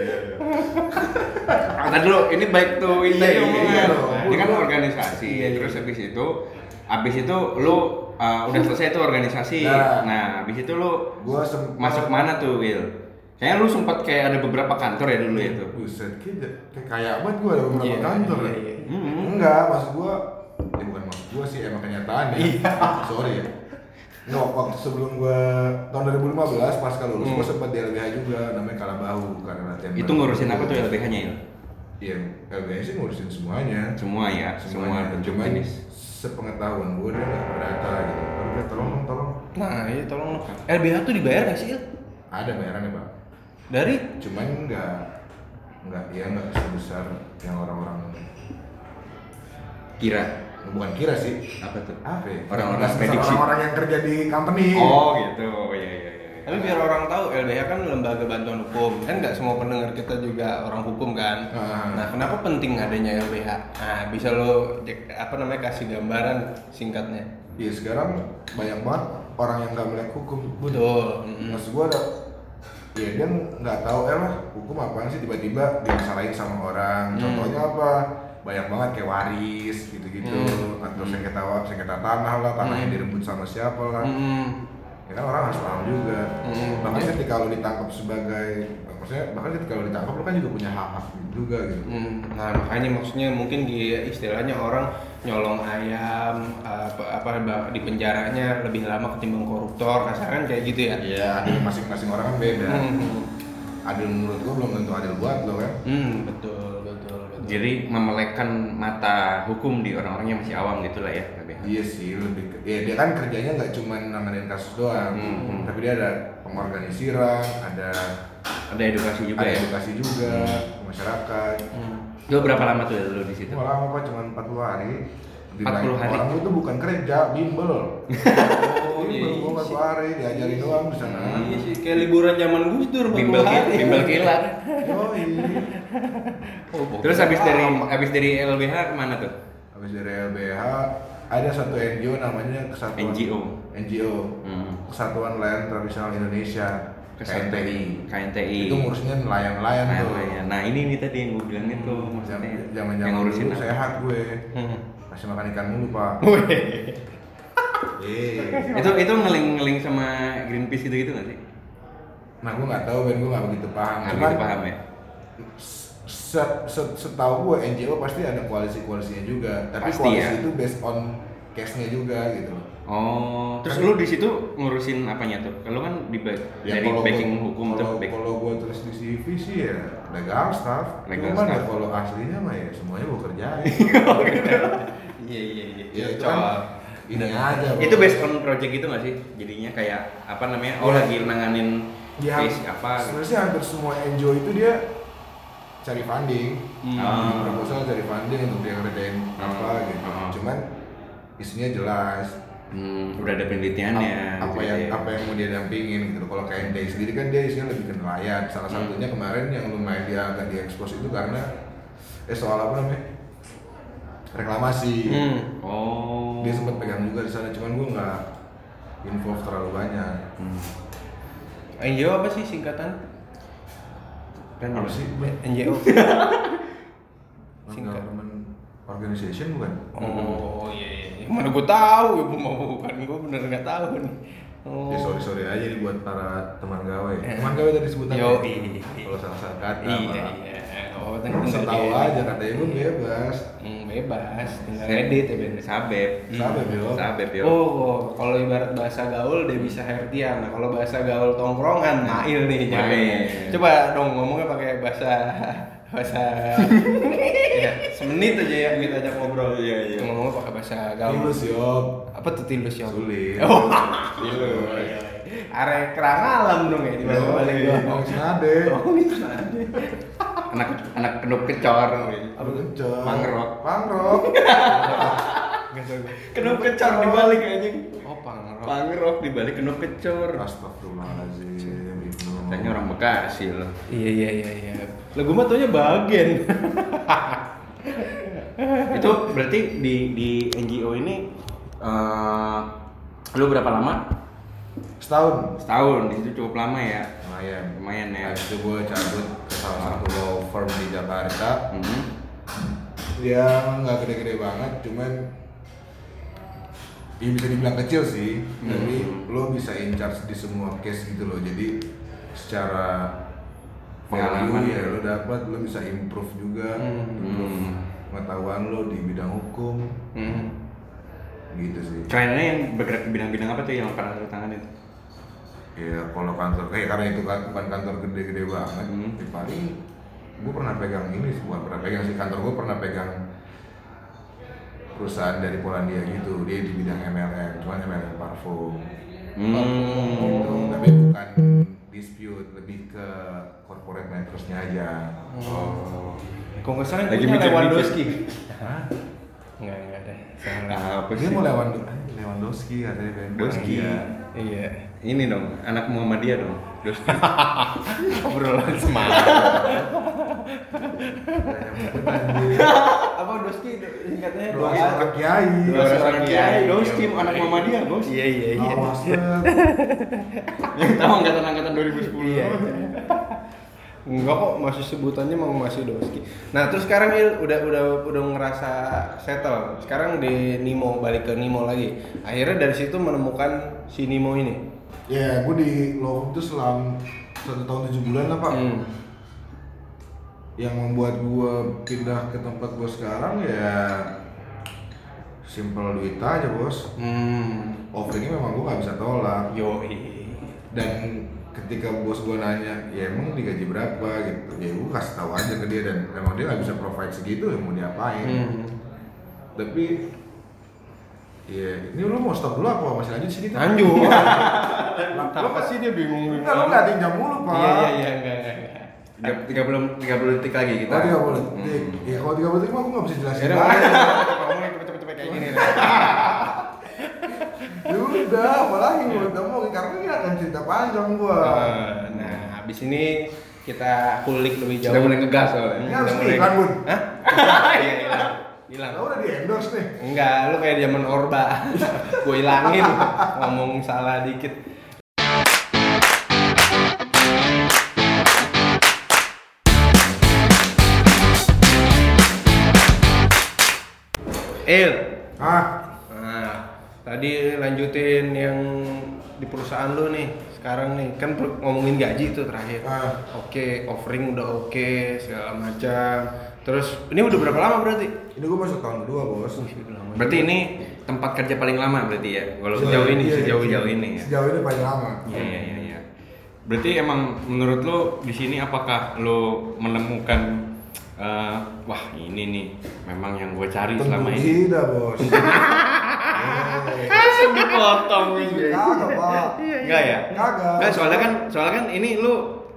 Speaker 1: iya [laughs] iya. Nah dulu ini baik tuh ini
Speaker 4: Iya,
Speaker 1: tadi
Speaker 4: iya,
Speaker 1: omongan.
Speaker 4: iya dong.
Speaker 1: Ini kan organisasi.
Speaker 2: Iya, iya.
Speaker 1: Terus habis itu habis itu lu uh, udah selesai tuh organisasi.
Speaker 4: Nah.
Speaker 1: Nah, habis itu lu
Speaker 4: gua sempat
Speaker 1: masuk mana tuh, Will? Kayaknya lu sempat kayak ada beberapa kantor ya dulu ya tuh.
Speaker 4: Buset, kayak, kayak kaya banget gue ada beberapa
Speaker 2: Iya,
Speaker 4: kantor
Speaker 2: iya,
Speaker 4: ya.
Speaker 2: iya.
Speaker 1: Mm-mm.
Speaker 4: Enggak, maksud gue, ya bukan maksud gue sih, emang kenyataan ya.
Speaker 1: Iya.
Speaker 4: [laughs] Sorry ya. Nggak, wak- waktu sebelum gue, tahun 2015 pas kalau lulus, gue sempet di LBH juga, namanya Kalabahu. Karena latihan
Speaker 1: Mm. Itu
Speaker 4: bareng.
Speaker 1: ngurusin apa tuh LBH-nya, Il?
Speaker 4: Iya, LBH sih ngurusin semuanya.
Speaker 1: Semua ya, semua
Speaker 4: Semuanya.
Speaker 1: bentuk
Speaker 4: Cuman
Speaker 1: jenis.
Speaker 4: sepengetahuan gue dia nggak berata gitu. Tapi dia, tolong dong, tolong.
Speaker 2: Nah, iya tolong lo. LBH tuh dibayar nggak sih, Il?
Speaker 4: Ada bayarannya pak.
Speaker 2: Dari
Speaker 4: Cuman nggak, nggak, ya nggak sebesar yang orang-orang
Speaker 1: Kira
Speaker 4: bukan kira sih
Speaker 1: apa tuh?
Speaker 4: apa ya?
Speaker 1: Orang-orang
Speaker 4: Nggak sebesar
Speaker 1: prediksi.
Speaker 4: orang-orang yang kerja di company
Speaker 1: Oh, gitu. Iya iya iya.
Speaker 2: Tapi biar orang tahu LBH kan lembaga bantuan hukum kan nggak semua pendengar kita juga orang hukum kan.
Speaker 4: Ah.
Speaker 2: Nah kenapa penting adanya LBH? Nah bisa lo cek- apa namanya kasih gambaran singkatnya.
Speaker 4: Iya sekarang banyak banget orang yang nggak melek hukum
Speaker 2: Betul. Mm-mm.
Speaker 4: maksud gua ada ya dia nggak tahu eh lah hukum apaan sih tiba-tiba dimasalahin sama orang contohnya apa banyak banget kayak waris gitu-gitu atau sengketa sengketa tanah lah tanahnya direbut sama siapa lah
Speaker 2: Mm-mm.
Speaker 4: ya kan orang harus paham juga
Speaker 2: Hmm.
Speaker 4: bahkan ketika lo ditangkap sebagai maksudnya bahkan ketika lo ditangkap lo kan juga punya hak-hak juga gitu
Speaker 2: Mm. Nah makanya maksudnya mungkin di istilahnya orang nyolong ayam apa, apa ba- di penjaranya lebih lama ketimbang koruptor kasaran kayak gitu ya.
Speaker 4: Iya, adil masing-masing orang kan beda.
Speaker 2: Mm.
Speaker 4: Adil menurut gua belum tentu adil buat lo kan.
Speaker 2: Mm, betul betul betul.
Speaker 1: Jadi memelekkan mata hukum di orang-orang yang masih awam gitu lah ya, LBH.
Speaker 4: Iya sih, lebih ke- ya dia kan kerjanya nggak cuma nanganin kasus doang, tapi dia ada pengorganisiran, ada
Speaker 1: Ada edukasi juga ya.
Speaker 4: ada edukasi juga ke masyarakat.
Speaker 2: Mm.
Speaker 1: Lu berapa lama tuh lu di situ?
Speaker 4: Itu lama apa cuma 40 hari.
Speaker 1: 40
Speaker 4: Lebih baik.
Speaker 1: hari?
Speaker 4: Orang itu bukan kerja, bimbel.
Speaker 2: Oh,
Speaker 4: bimbel
Speaker 2: iya
Speaker 4: gua
Speaker 2: sih.
Speaker 4: 40 hari diajarin doang di sana.
Speaker 2: Iya sih, kayak liburan zaman Gus Dur
Speaker 1: Bimbel
Speaker 2: betul
Speaker 1: ki-
Speaker 2: hari.
Speaker 1: bimbel kilat.
Speaker 4: Yoi.
Speaker 2: Oh, bohong.
Speaker 1: Terus habis dari habis dari LBH kemana tuh?
Speaker 4: Habis dari LBH, ada satu NGO namanya Kesatuan
Speaker 1: NGO.
Speaker 4: NGO
Speaker 1: Hmm.
Speaker 4: Kesatuan Nelayan Tradisional Indonesia
Speaker 1: Kesatuan.
Speaker 4: KNTI
Speaker 1: KNTI.
Speaker 4: itu ngurusnya nelayan-nelayan tuh Hmm.
Speaker 1: Nah, nah ini nih tadi yang gue bilang itu maksudnya
Speaker 4: Jam- zaman
Speaker 1: yang
Speaker 4: zaman
Speaker 1: ngurusin
Speaker 4: dulu
Speaker 1: apa?
Speaker 4: sehat gue
Speaker 2: Hmm.
Speaker 4: masih makan ikan mulu pak Iya.
Speaker 1: itu itu ngeling ngeling sama Greenpeace gitu gitu nggak sih?
Speaker 4: nah gue nggak tahu Ben gue nggak begitu paham
Speaker 1: Nggak
Speaker 4: cuman
Speaker 1: begitu paham ya.
Speaker 4: se- se- setahu gue NGO pasti ada koalisi koalisinya juga tapi
Speaker 1: Pasti
Speaker 4: koalisi
Speaker 1: ya.
Speaker 4: itu based on case nya juga gitu loh
Speaker 1: Oh, terus lu di situ ngurusin apanya tuh? Kalau kan di ba-
Speaker 4: Ya,
Speaker 1: dari
Speaker 4: kalau gua-
Speaker 1: backing hukum tuh
Speaker 4: kalau,
Speaker 1: back-
Speaker 4: kalau gue tulis di CV sih ya legal staff
Speaker 1: Legal
Speaker 4: cuman
Speaker 1: staff.
Speaker 4: ya kalau aslinya mah ya semuanya gue
Speaker 1: [laughs]
Speaker 4: kerjain
Speaker 1: Iya iya iya.
Speaker 4: ya cuman ini aja
Speaker 1: Itu
Speaker 4: Bro.
Speaker 1: based on project gitu nggak sih? Jadinya kayak apa namanya? Oh,
Speaker 4: Ya.
Speaker 1: lagi nanganin
Speaker 4: Ya,
Speaker 1: case apa? gitu.
Speaker 4: sebenarnya hampir semua NGO itu dia cari funding
Speaker 1: Hmm.
Speaker 4: Bikin proposal cari funding untuk dia ngerjain apa gitu
Speaker 1: Hmm.
Speaker 4: cuman isinya jelas
Speaker 1: Hmm, udah ada penelitiannya.
Speaker 2: Iya,
Speaker 4: apa, apa
Speaker 1: gitu
Speaker 4: yang
Speaker 1: ya.
Speaker 4: apa yang mau dia dampingin gitu loh. kalau kayak Day sendiri kan dia isinya lebih ke nelayan salah
Speaker 2: Iya.
Speaker 4: satunya kemarin yang lumayan dia agak diekspos itu karena eh soal apa namanya reklamasi
Speaker 2: Hmm.
Speaker 1: Oh.
Speaker 4: dia sempat pegang juga di sana cuman gue nggak involve terlalu banyak
Speaker 1: Hmm.
Speaker 2: NGO apa sih singkatan?
Speaker 1: Kan
Speaker 4: apa sih Ben?
Speaker 2: NGO. Singkat.
Speaker 4: non-government organization bukan
Speaker 2: Oh iya iya. iya. [laughs] Mana gue tahu ibu mau bukan gue bener nggak tahu nih. Oh.
Speaker 4: Ya sorry sorry aja nih buat para teman gawe. Teman gawe tadi sebutan.
Speaker 2: Yo,
Speaker 4: ya?
Speaker 2: iya.
Speaker 4: Kalau salah salah kata.
Speaker 2: Iya
Speaker 4: malah.
Speaker 2: iya. Oh tenang
Speaker 4: Langsung tahu aja katanya gue bebas.
Speaker 2: Hmm, bebas, tinggal
Speaker 1: Saya-
Speaker 2: edit ya bener.
Speaker 1: Sabep.
Speaker 4: Sabep, yo.
Speaker 1: Sabep ya. yo.
Speaker 2: Oh, kalau ibarat bahasa gaul dia bisa Hertian. Nah, kalau bahasa gaul tongkrongan Nah, Mail nih. Jack.
Speaker 1: Mail.
Speaker 2: Coba dong ngomongnya pakai bahasa bahasa [laughs] ya, semenit aja ya kita ajak ngobrol.
Speaker 1: Iya, iya.
Speaker 2: Ngomongnya pakai bahasa gaul.
Speaker 4: Tulus yo.
Speaker 2: Apa tuh tilus ya?
Speaker 4: Sulit. Iya.
Speaker 2: Oh,
Speaker 4: Sulit.
Speaker 2: are kerang alam dong ya
Speaker 4: Iya.
Speaker 2: di balik balik
Speaker 4: Yo,
Speaker 2: gua.
Speaker 4: Mau senade.
Speaker 2: Oh, itu ada.
Speaker 1: Anak anak kedok kecor.
Speaker 4: Apa kenceng?
Speaker 1: Mangrok.
Speaker 4: Mangrok.
Speaker 2: Nggak tahu gua.
Speaker 1: Kedok kecor dibalik anjing.
Speaker 2: Oh, pangrok.
Speaker 1: Pangrok dibalik kedok kecor.
Speaker 4: [laughs] Ah. Astagfirullahaladzim. Ibnu.
Speaker 1: Katanya orang Bekasi loh.
Speaker 2: Iya iya iya iya. Lah gua mah taunya bagen.
Speaker 1: Itu berarti di di NGO ini eh lu berapa lama?
Speaker 4: Setahun.
Speaker 1: Setahun, di situ cukup lama ya.
Speaker 4: Lumayan.
Speaker 1: Lumayan ya.
Speaker 4: Habis itu gue cabut ke salah satu law firm di Jakarta.
Speaker 1: Hmm.
Speaker 4: Dia Ya, nggak gede-gede banget, cuman ya bisa dibilang kecil sih,
Speaker 1: Hmm.
Speaker 4: tapi lo bisa in charge di semua case gitu loh. Jadi secara
Speaker 1: Pengalaman.
Speaker 4: value ya lo dapat, lo bisa improve juga, improve
Speaker 1: Hmm.
Speaker 4: pengetahuan lo di bidang hukum
Speaker 2: Hmm.
Speaker 4: gitu sih.
Speaker 1: Kliennya yang bergerak di bidang-bidang apa tuh yang pernah lu tangan itu?
Speaker 4: Ya kalau kantor, eh karena itu kan bukan kantor gede-gede banget,
Speaker 1: Hmm.
Speaker 4: ya paling gue pernah pegang ini, sih, bukan pernah pegang sih kantor gue pernah pegang perusahaan dari Polandia gitu, dia di bidang MLM, cuman MLM parfum,
Speaker 1: Hmm.
Speaker 4: gitu, tapi bukan dispute, lebih ke corporate matters-nya aja.
Speaker 1: Oh.
Speaker 2: Kok nggak salah yang
Speaker 1: Lagi
Speaker 2: punya
Speaker 1: mikir-mikir.
Speaker 2: Lewandowski. Enggak, enggak deh. Salah.
Speaker 1: Apa
Speaker 4: Dia
Speaker 1: sih?
Speaker 4: mau Lewand Lewandowski katanya kan?
Speaker 1: Doski.
Speaker 2: Iya.
Speaker 1: Ini dong, anak Muhammadiyah dong. Doski.
Speaker 2: Obrolan semangat. Apa Doski singkatnya
Speaker 4: Doa seorang kiai.
Speaker 2: Doa seorang kiai.
Speaker 1: Doski anak Muhammadiyah,
Speaker 2: [laughs]
Speaker 1: Bos.
Speaker 2: Iya iya iya.
Speaker 4: Awas, Dad.
Speaker 1: Yang tahu angkatan-angkatan 2010.
Speaker 2: Iya. Enggak kok, masih sebutannya mau masih Doski. Nah, terus sekarang Il udah udah udah ngerasa settle. Sekarang di Nimo balik ke Nimo lagi. Akhirnya dari situ menemukan si Nimo ini.
Speaker 4: Ya, gue di Law itu selama satu tahun tujuh bulan lah pak.
Speaker 2: Hmm.
Speaker 4: Yang membuat gue pindah ke tempat gue sekarang ya simple duit aja bos.
Speaker 2: Hmm.
Speaker 4: Offeringnya memang gue nggak bisa tolak.
Speaker 2: Yoi.
Speaker 4: Dan ketika bos gue nanya, ya emang digaji berapa gitu, ya gue kasih tahu aja ke dia dan emang dia nggak bisa provide segitu ya mau diapain.
Speaker 2: Hmm.
Speaker 4: Tapi ya ini lu mau stop dulu apa masih lanjut sini?
Speaker 2: Lanjut.
Speaker 4: Kenapa sih
Speaker 2: dia bingung
Speaker 4: Enggak, lu nggak tinjam mulu pak.
Speaker 2: Iya iya iya enggak enggak. enggak.
Speaker 1: [laughs] Tiga- 30 30 detik lagi kita.
Speaker 4: Oh tiga puluh
Speaker 1: Hmm. Iya.
Speaker 4: detik. Ya kalau tiga puluh detik mah aku nggak bisa jelasin.
Speaker 2: Akhirnya
Speaker 4: lagi.
Speaker 2: mulai cepet-cepet kayak gini. nih.
Speaker 4: Ya udah, apalagi gue udah mau karena ini akan cerita panjang gua.
Speaker 1: Ah,
Speaker 2: Eh, Nah, habis ini kita kulik lebih jauh.
Speaker 1: Sudah mulai ngegas soalnya.
Speaker 4: Ini
Speaker 2: Udah
Speaker 4: harus
Speaker 2: mulai-
Speaker 4: nih kan bun.
Speaker 2: Hah? [laughs] Iya, iya. hilang
Speaker 4: Nah, udah di endorse nih.
Speaker 2: Enggak, lu kayak zaman Orba. gue hilangin ngomong salah dikit. Il.
Speaker 4: Ah,
Speaker 2: Nah, tadi lanjutin yang di perusahaan lu nih. Sekarang nih kan per- ngomongin gaji tuh terakhir.
Speaker 4: Ah.
Speaker 2: Oke, offering udah oke, segala macam. Terus ini udah berapa lama berarti?
Speaker 4: ini gue masuk tahun kedua bos.
Speaker 1: Berarti ini tempat kerja paling lama berarti ya. Walau
Speaker 2: Sejauh ini,
Speaker 4: Iya, iya.
Speaker 2: sejauh-
Speaker 1: sejauh ini ya.
Speaker 4: Sejauh ini paling lama.
Speaker 1: Iya iya iya. iya. Berarti emang menurut lo di sini apakah lo menemukan eh, wah ini nih memang yang gue cari selama
Speaker 4: Tentu [laughs]
Speaker 1: ini.
Speaker 4: tidak
Speaker 1: [laughs]
Speaker 4: bos. Iya, Eh,
Speaker 1: Langsung dipotong
Speaker 4: Kagak pak.
Speaker 1: Enggak ya?
Speaker 4: Kagak.
Speaker 1: Enggak, soalnya kan soalnya kan ini lu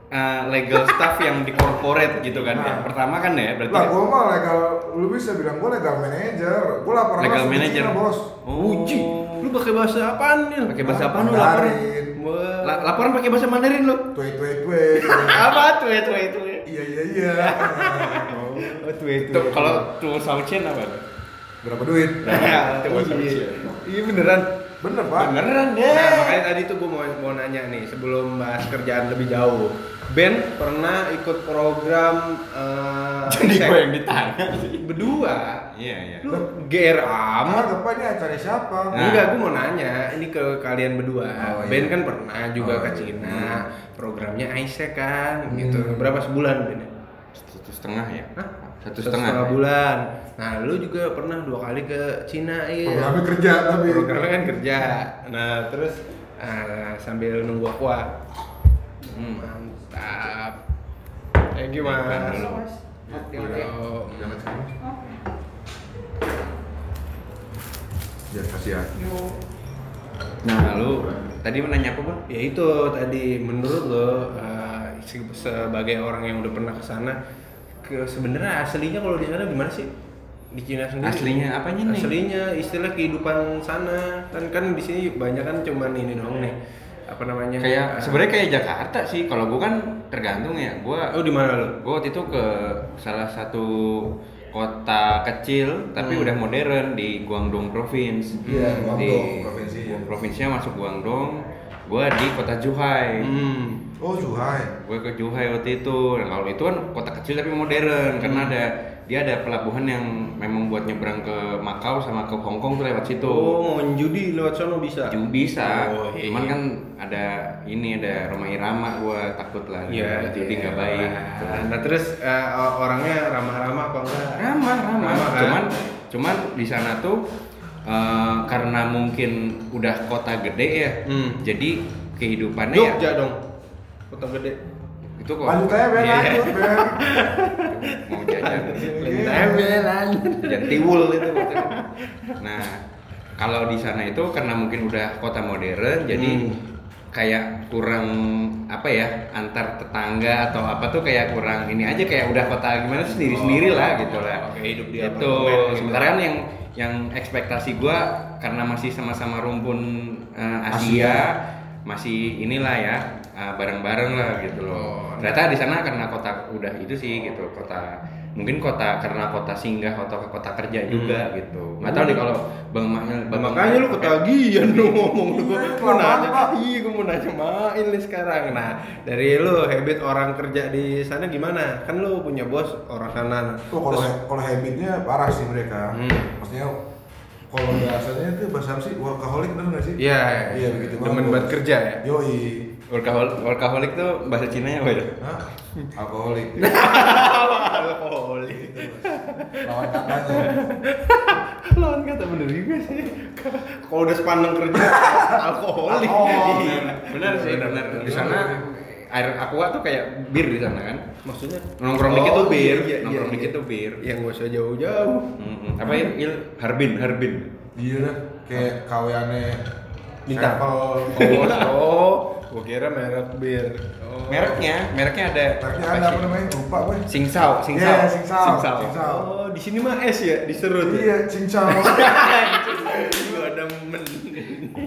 Speaker 1: uh, legal staff yang di corporate gitu kan.
Speaker 4: Nah.
Speaker 1: Yang pertama kan ya berarti
Speaker 4: Lah gue mah legal, lu bisa bilang gue legal manager. Gue laporan
Speaker 1: legal
Speaker 4: langsung ke
Speaker 1: manager. Oh.
Speaker 4: Cina, bos.
Speaker 2: Uji. Lu pakai bahasa apaan nih?
Speaker 1: Pakai bahasa apaan lu
Speaker 4: Mandarin.
Speaker 1: laporan? La- laporan pakai bahasa Mandarin lu.
Speaker 4: Tue tue tue.
Speaker 2: Apa tuh itu itu?
Speaker 4: Iya iya
Speaker 2: [laughs]
Speaker 4: iya.
Speaker 2: Oh, tuh itu.
Speaker 1: Tuh, kalau tuh saucin apa?
Speaker 4: Berapa duit?
Speaker 2: Nah,
Speaker 1: Itu bahasa
Speaker 2: iya.
Speaker 1: Rusia.
Speaker 2: Iya beneran.
Speaker 4: Bener pak.
Speaker 1: Beneran deh.
Speaker 2: Nah, makanya tadi tuh gue mau, mau nanya nih sebelum bahas kerjaan lebih jauh. Ben pernah ikut program eh,
Speaker 1: Jadi
Speaker 2: sek-
Speaker 1: gue yang ditanya.
Speaker 2: berdua
Speaker 1: Iya iya.
Speaker 2: lu GR
Speaker 4: Amat
Speaker 2: amat
Speaker 4: depannya acara siapa?
Speaker 1: Nah.
Speaker 2: enggak gue mau nanya ini ke kalian berdua
Speaker 4: Oh, iya.
Speaker 2: Ben kan pernah juga
Speaker 4: Oh,
Speaker 2: ke
Speaker 4: iya.
Speaker 2: Cina programnya Aisyah kan gitu berapa sebulan Ben
Speaker 1: Satu setengah ya.
Speaker 2: Hah?
Speaker 1: Satu setengah.
Speaker 2: bulan nah lu juga pernah dua kali ke Cina iya
Speaker 4: Programnya kerja tapi.
Speaker 2: programnya kan kerja nah terus eh, sambil nunggu aku ah.
Speaker 1: Hmm.
Speaker 2: mantap thank you mas
Speaker 1: Thank you,
Speaker 2: Mas. Yo.
Speaker 4: Jangan sama. Ya kasihan.
Speaker 1: Nah, lu tadi mau nanya apa, Bang?
Speaker 2: ya itu tadi menurut lo uh, se- sebagai orang yang udah pernah kesana ke sebenarnya aslinya kalau di sana gimana sih di Cina sendiri
Speaker 1: Aslinya apanya nih?
Speaker 2: aslinya istilah kehidupan sana kan kan di sini banyak kan cuman ini doang nih apa namanya
Speaker 1: Kayak
Speaker 2: Uh,
Speaker 1: sebenarnya kayak Jakarta sih. Kalau gue kan tergantung ya. Gua
Speaker 2: oh di mana lo
Speaker 1: gue waktu itu ke salah satu kota kecil tapi
Speaker 2: Hmm.
Speaker 1: udah modern di Guangdong Province
Speaker 4: Iya, Guangdong
Speaker 1: di
Speaker 4: provinsi.
Speaker 1: provinsinya masuk Guangdong gue di kota Zhuhai
Speaker 2: hmm.
Speaker 4: Oh Zuhai.
Speaker 1: gue ke Zhuhai waktu itu nah, kalau itu kan kota kecil tapi modern karena
Speaker 2: Hmm.
Speaker 1: ada dia ada pelabuhan yang memang buat nyebrang ke Makau sama ke Hong Kong tuh lewat situ
Speaker 2: oh mau judi lewat sono bisa
Speaker 1: juga bisa
Speaker 2: Oh, iya.
Speaker 1: cuman kan ada ini ada rumah irama gue takut lah
Speaker 2: Iya,
Speaker 1: jadi
Speaker 2: iya.
Speaker 1: nggak baik
Speaker 2: Nah terus uh, orangnya ramah-ramah apa enggak?
Speaker 1: ramah ramah
Speaker 2: Ramah, kan?
Speaker 1: cuman cuman di sana tuh eh, karena mungkin udah kota gede ya
Speaker 2: Hmm.
Speaker 1: jadi kehidupannya ya
Speaker 2: Jogja dong, kota
Speaker 1: [laughs]
Speaker 2: gede.
Speaker 1: itu kok
Speaker 4: Lanjut aja Ben,
Speaker 1: Iya,
Speaker 4: lanjut
Speaker 2: [laughs]
Speaker 4: Ben.
Speaker 1: mau jajan
Speaker 2: Lebelan.
Speaker 1: jajan tiwul itu waktu itu. nah kalau di sana itu karena mungkin udah kota modern jadi
Speaker 2: Hmm.
Speaker 1: kayak kurang apa ya antar tetangga atau apa tuh kayak kurang ini aja kayak udah kota gimana sendiri sendiri lah gitu lah
Speaker 2: Oh, Oke, hidup di
Speaker 1: itu
Speaker 2: apartemen gitu.
Speaker 1: sementara kan yang yang ekspektasi gua karena masih sama-sama rumpun eh, Asia, masih inilah ya eh, bareng-bareng lah gitu
Speaker 2: Oh.
Speaker 1: loh ternyata di sana karena kota udah itu sih gitu kota mungkin kota karena kota singgah atau kota kerja juga gitu nggak tahu nih kalau bang Mahil
Speaker 2: Hmm. Nah, makanya lu ketagihan lu ngomong lu
Speaker 4: Iya,
Speaker 2: gue mau nanya
Speaker 4: kenapa?
Speaker 2: iya gue mau nanya main nih sekarang nah dari lu habit orang kerja di sana gimana kan lu punya bos orang sana
Speaker 4: Tuh kalau kalau habitnya parah sih mereka.
Speaker 2: Hmm.
Speaker 4: Maksudnya kalau bahasanya itu bahasa apa sih workaholic bener nggak sih?
Speaker 2: iya
Speaker 4: Iya begitu
Speaker 2: demen buat kerja ya
Speaker 4: Yoi.
Speaker 1: workaholic, workaholic tuh bahasa Cina ya Boy?
Speaker 4: Hah?
Speaker 2: [laughs]
Speaker 4: Alkoholik.
Speaker 2: alkoholik
Speaker 4: Lawan katanya.
Speaker 2: lawan kata bener juga sih kalau udah sepaneng kerja alkoholik
Speaker 4: Oh,
Speaker 2: Iya.
Speaker 1: benar sih benar di sana air aqua tuh kayak bir di sana kan
Speaker 2: maksudnya
Speaker 1: Nongkrong dikit tuh bir,
Speaker 2: iya, iya,
Speaker 1: nongkrong
Speaker 2: iya.
Speaker 1: dikit tuh bir.
Speaker 2: ya nggak usah jauh-jauh
Speaker 1: Mm-mm. Apa ya? Il Harbin, Harbin.
Speaker 4: Iya dah. Kayak kawiannya.
Speaker 2: Bintang. [laughs]
Speaker 4: Sevel.
Speaker 2: Oh, oh, gua kira merek bir. Oh.
Speaker 1: Mereknya, mereknya ada.
Speaker 4: Tapi
Speaker 1: apa
Speaker 4: ada
Speaker 1: sih?
Speaker 4: apa namanya? Lupa gue.
Speaker 1: Singsau, singsau.
Speaker 4: Iya, singsau,
Speaker 1: Singsau.
Speaker 4: singsau.
Speaker 2: Oh, di sini mah es ya, diserut. [laughs]
Speaker 4: Iya, cincang.
Speaker 2: Gua ada men.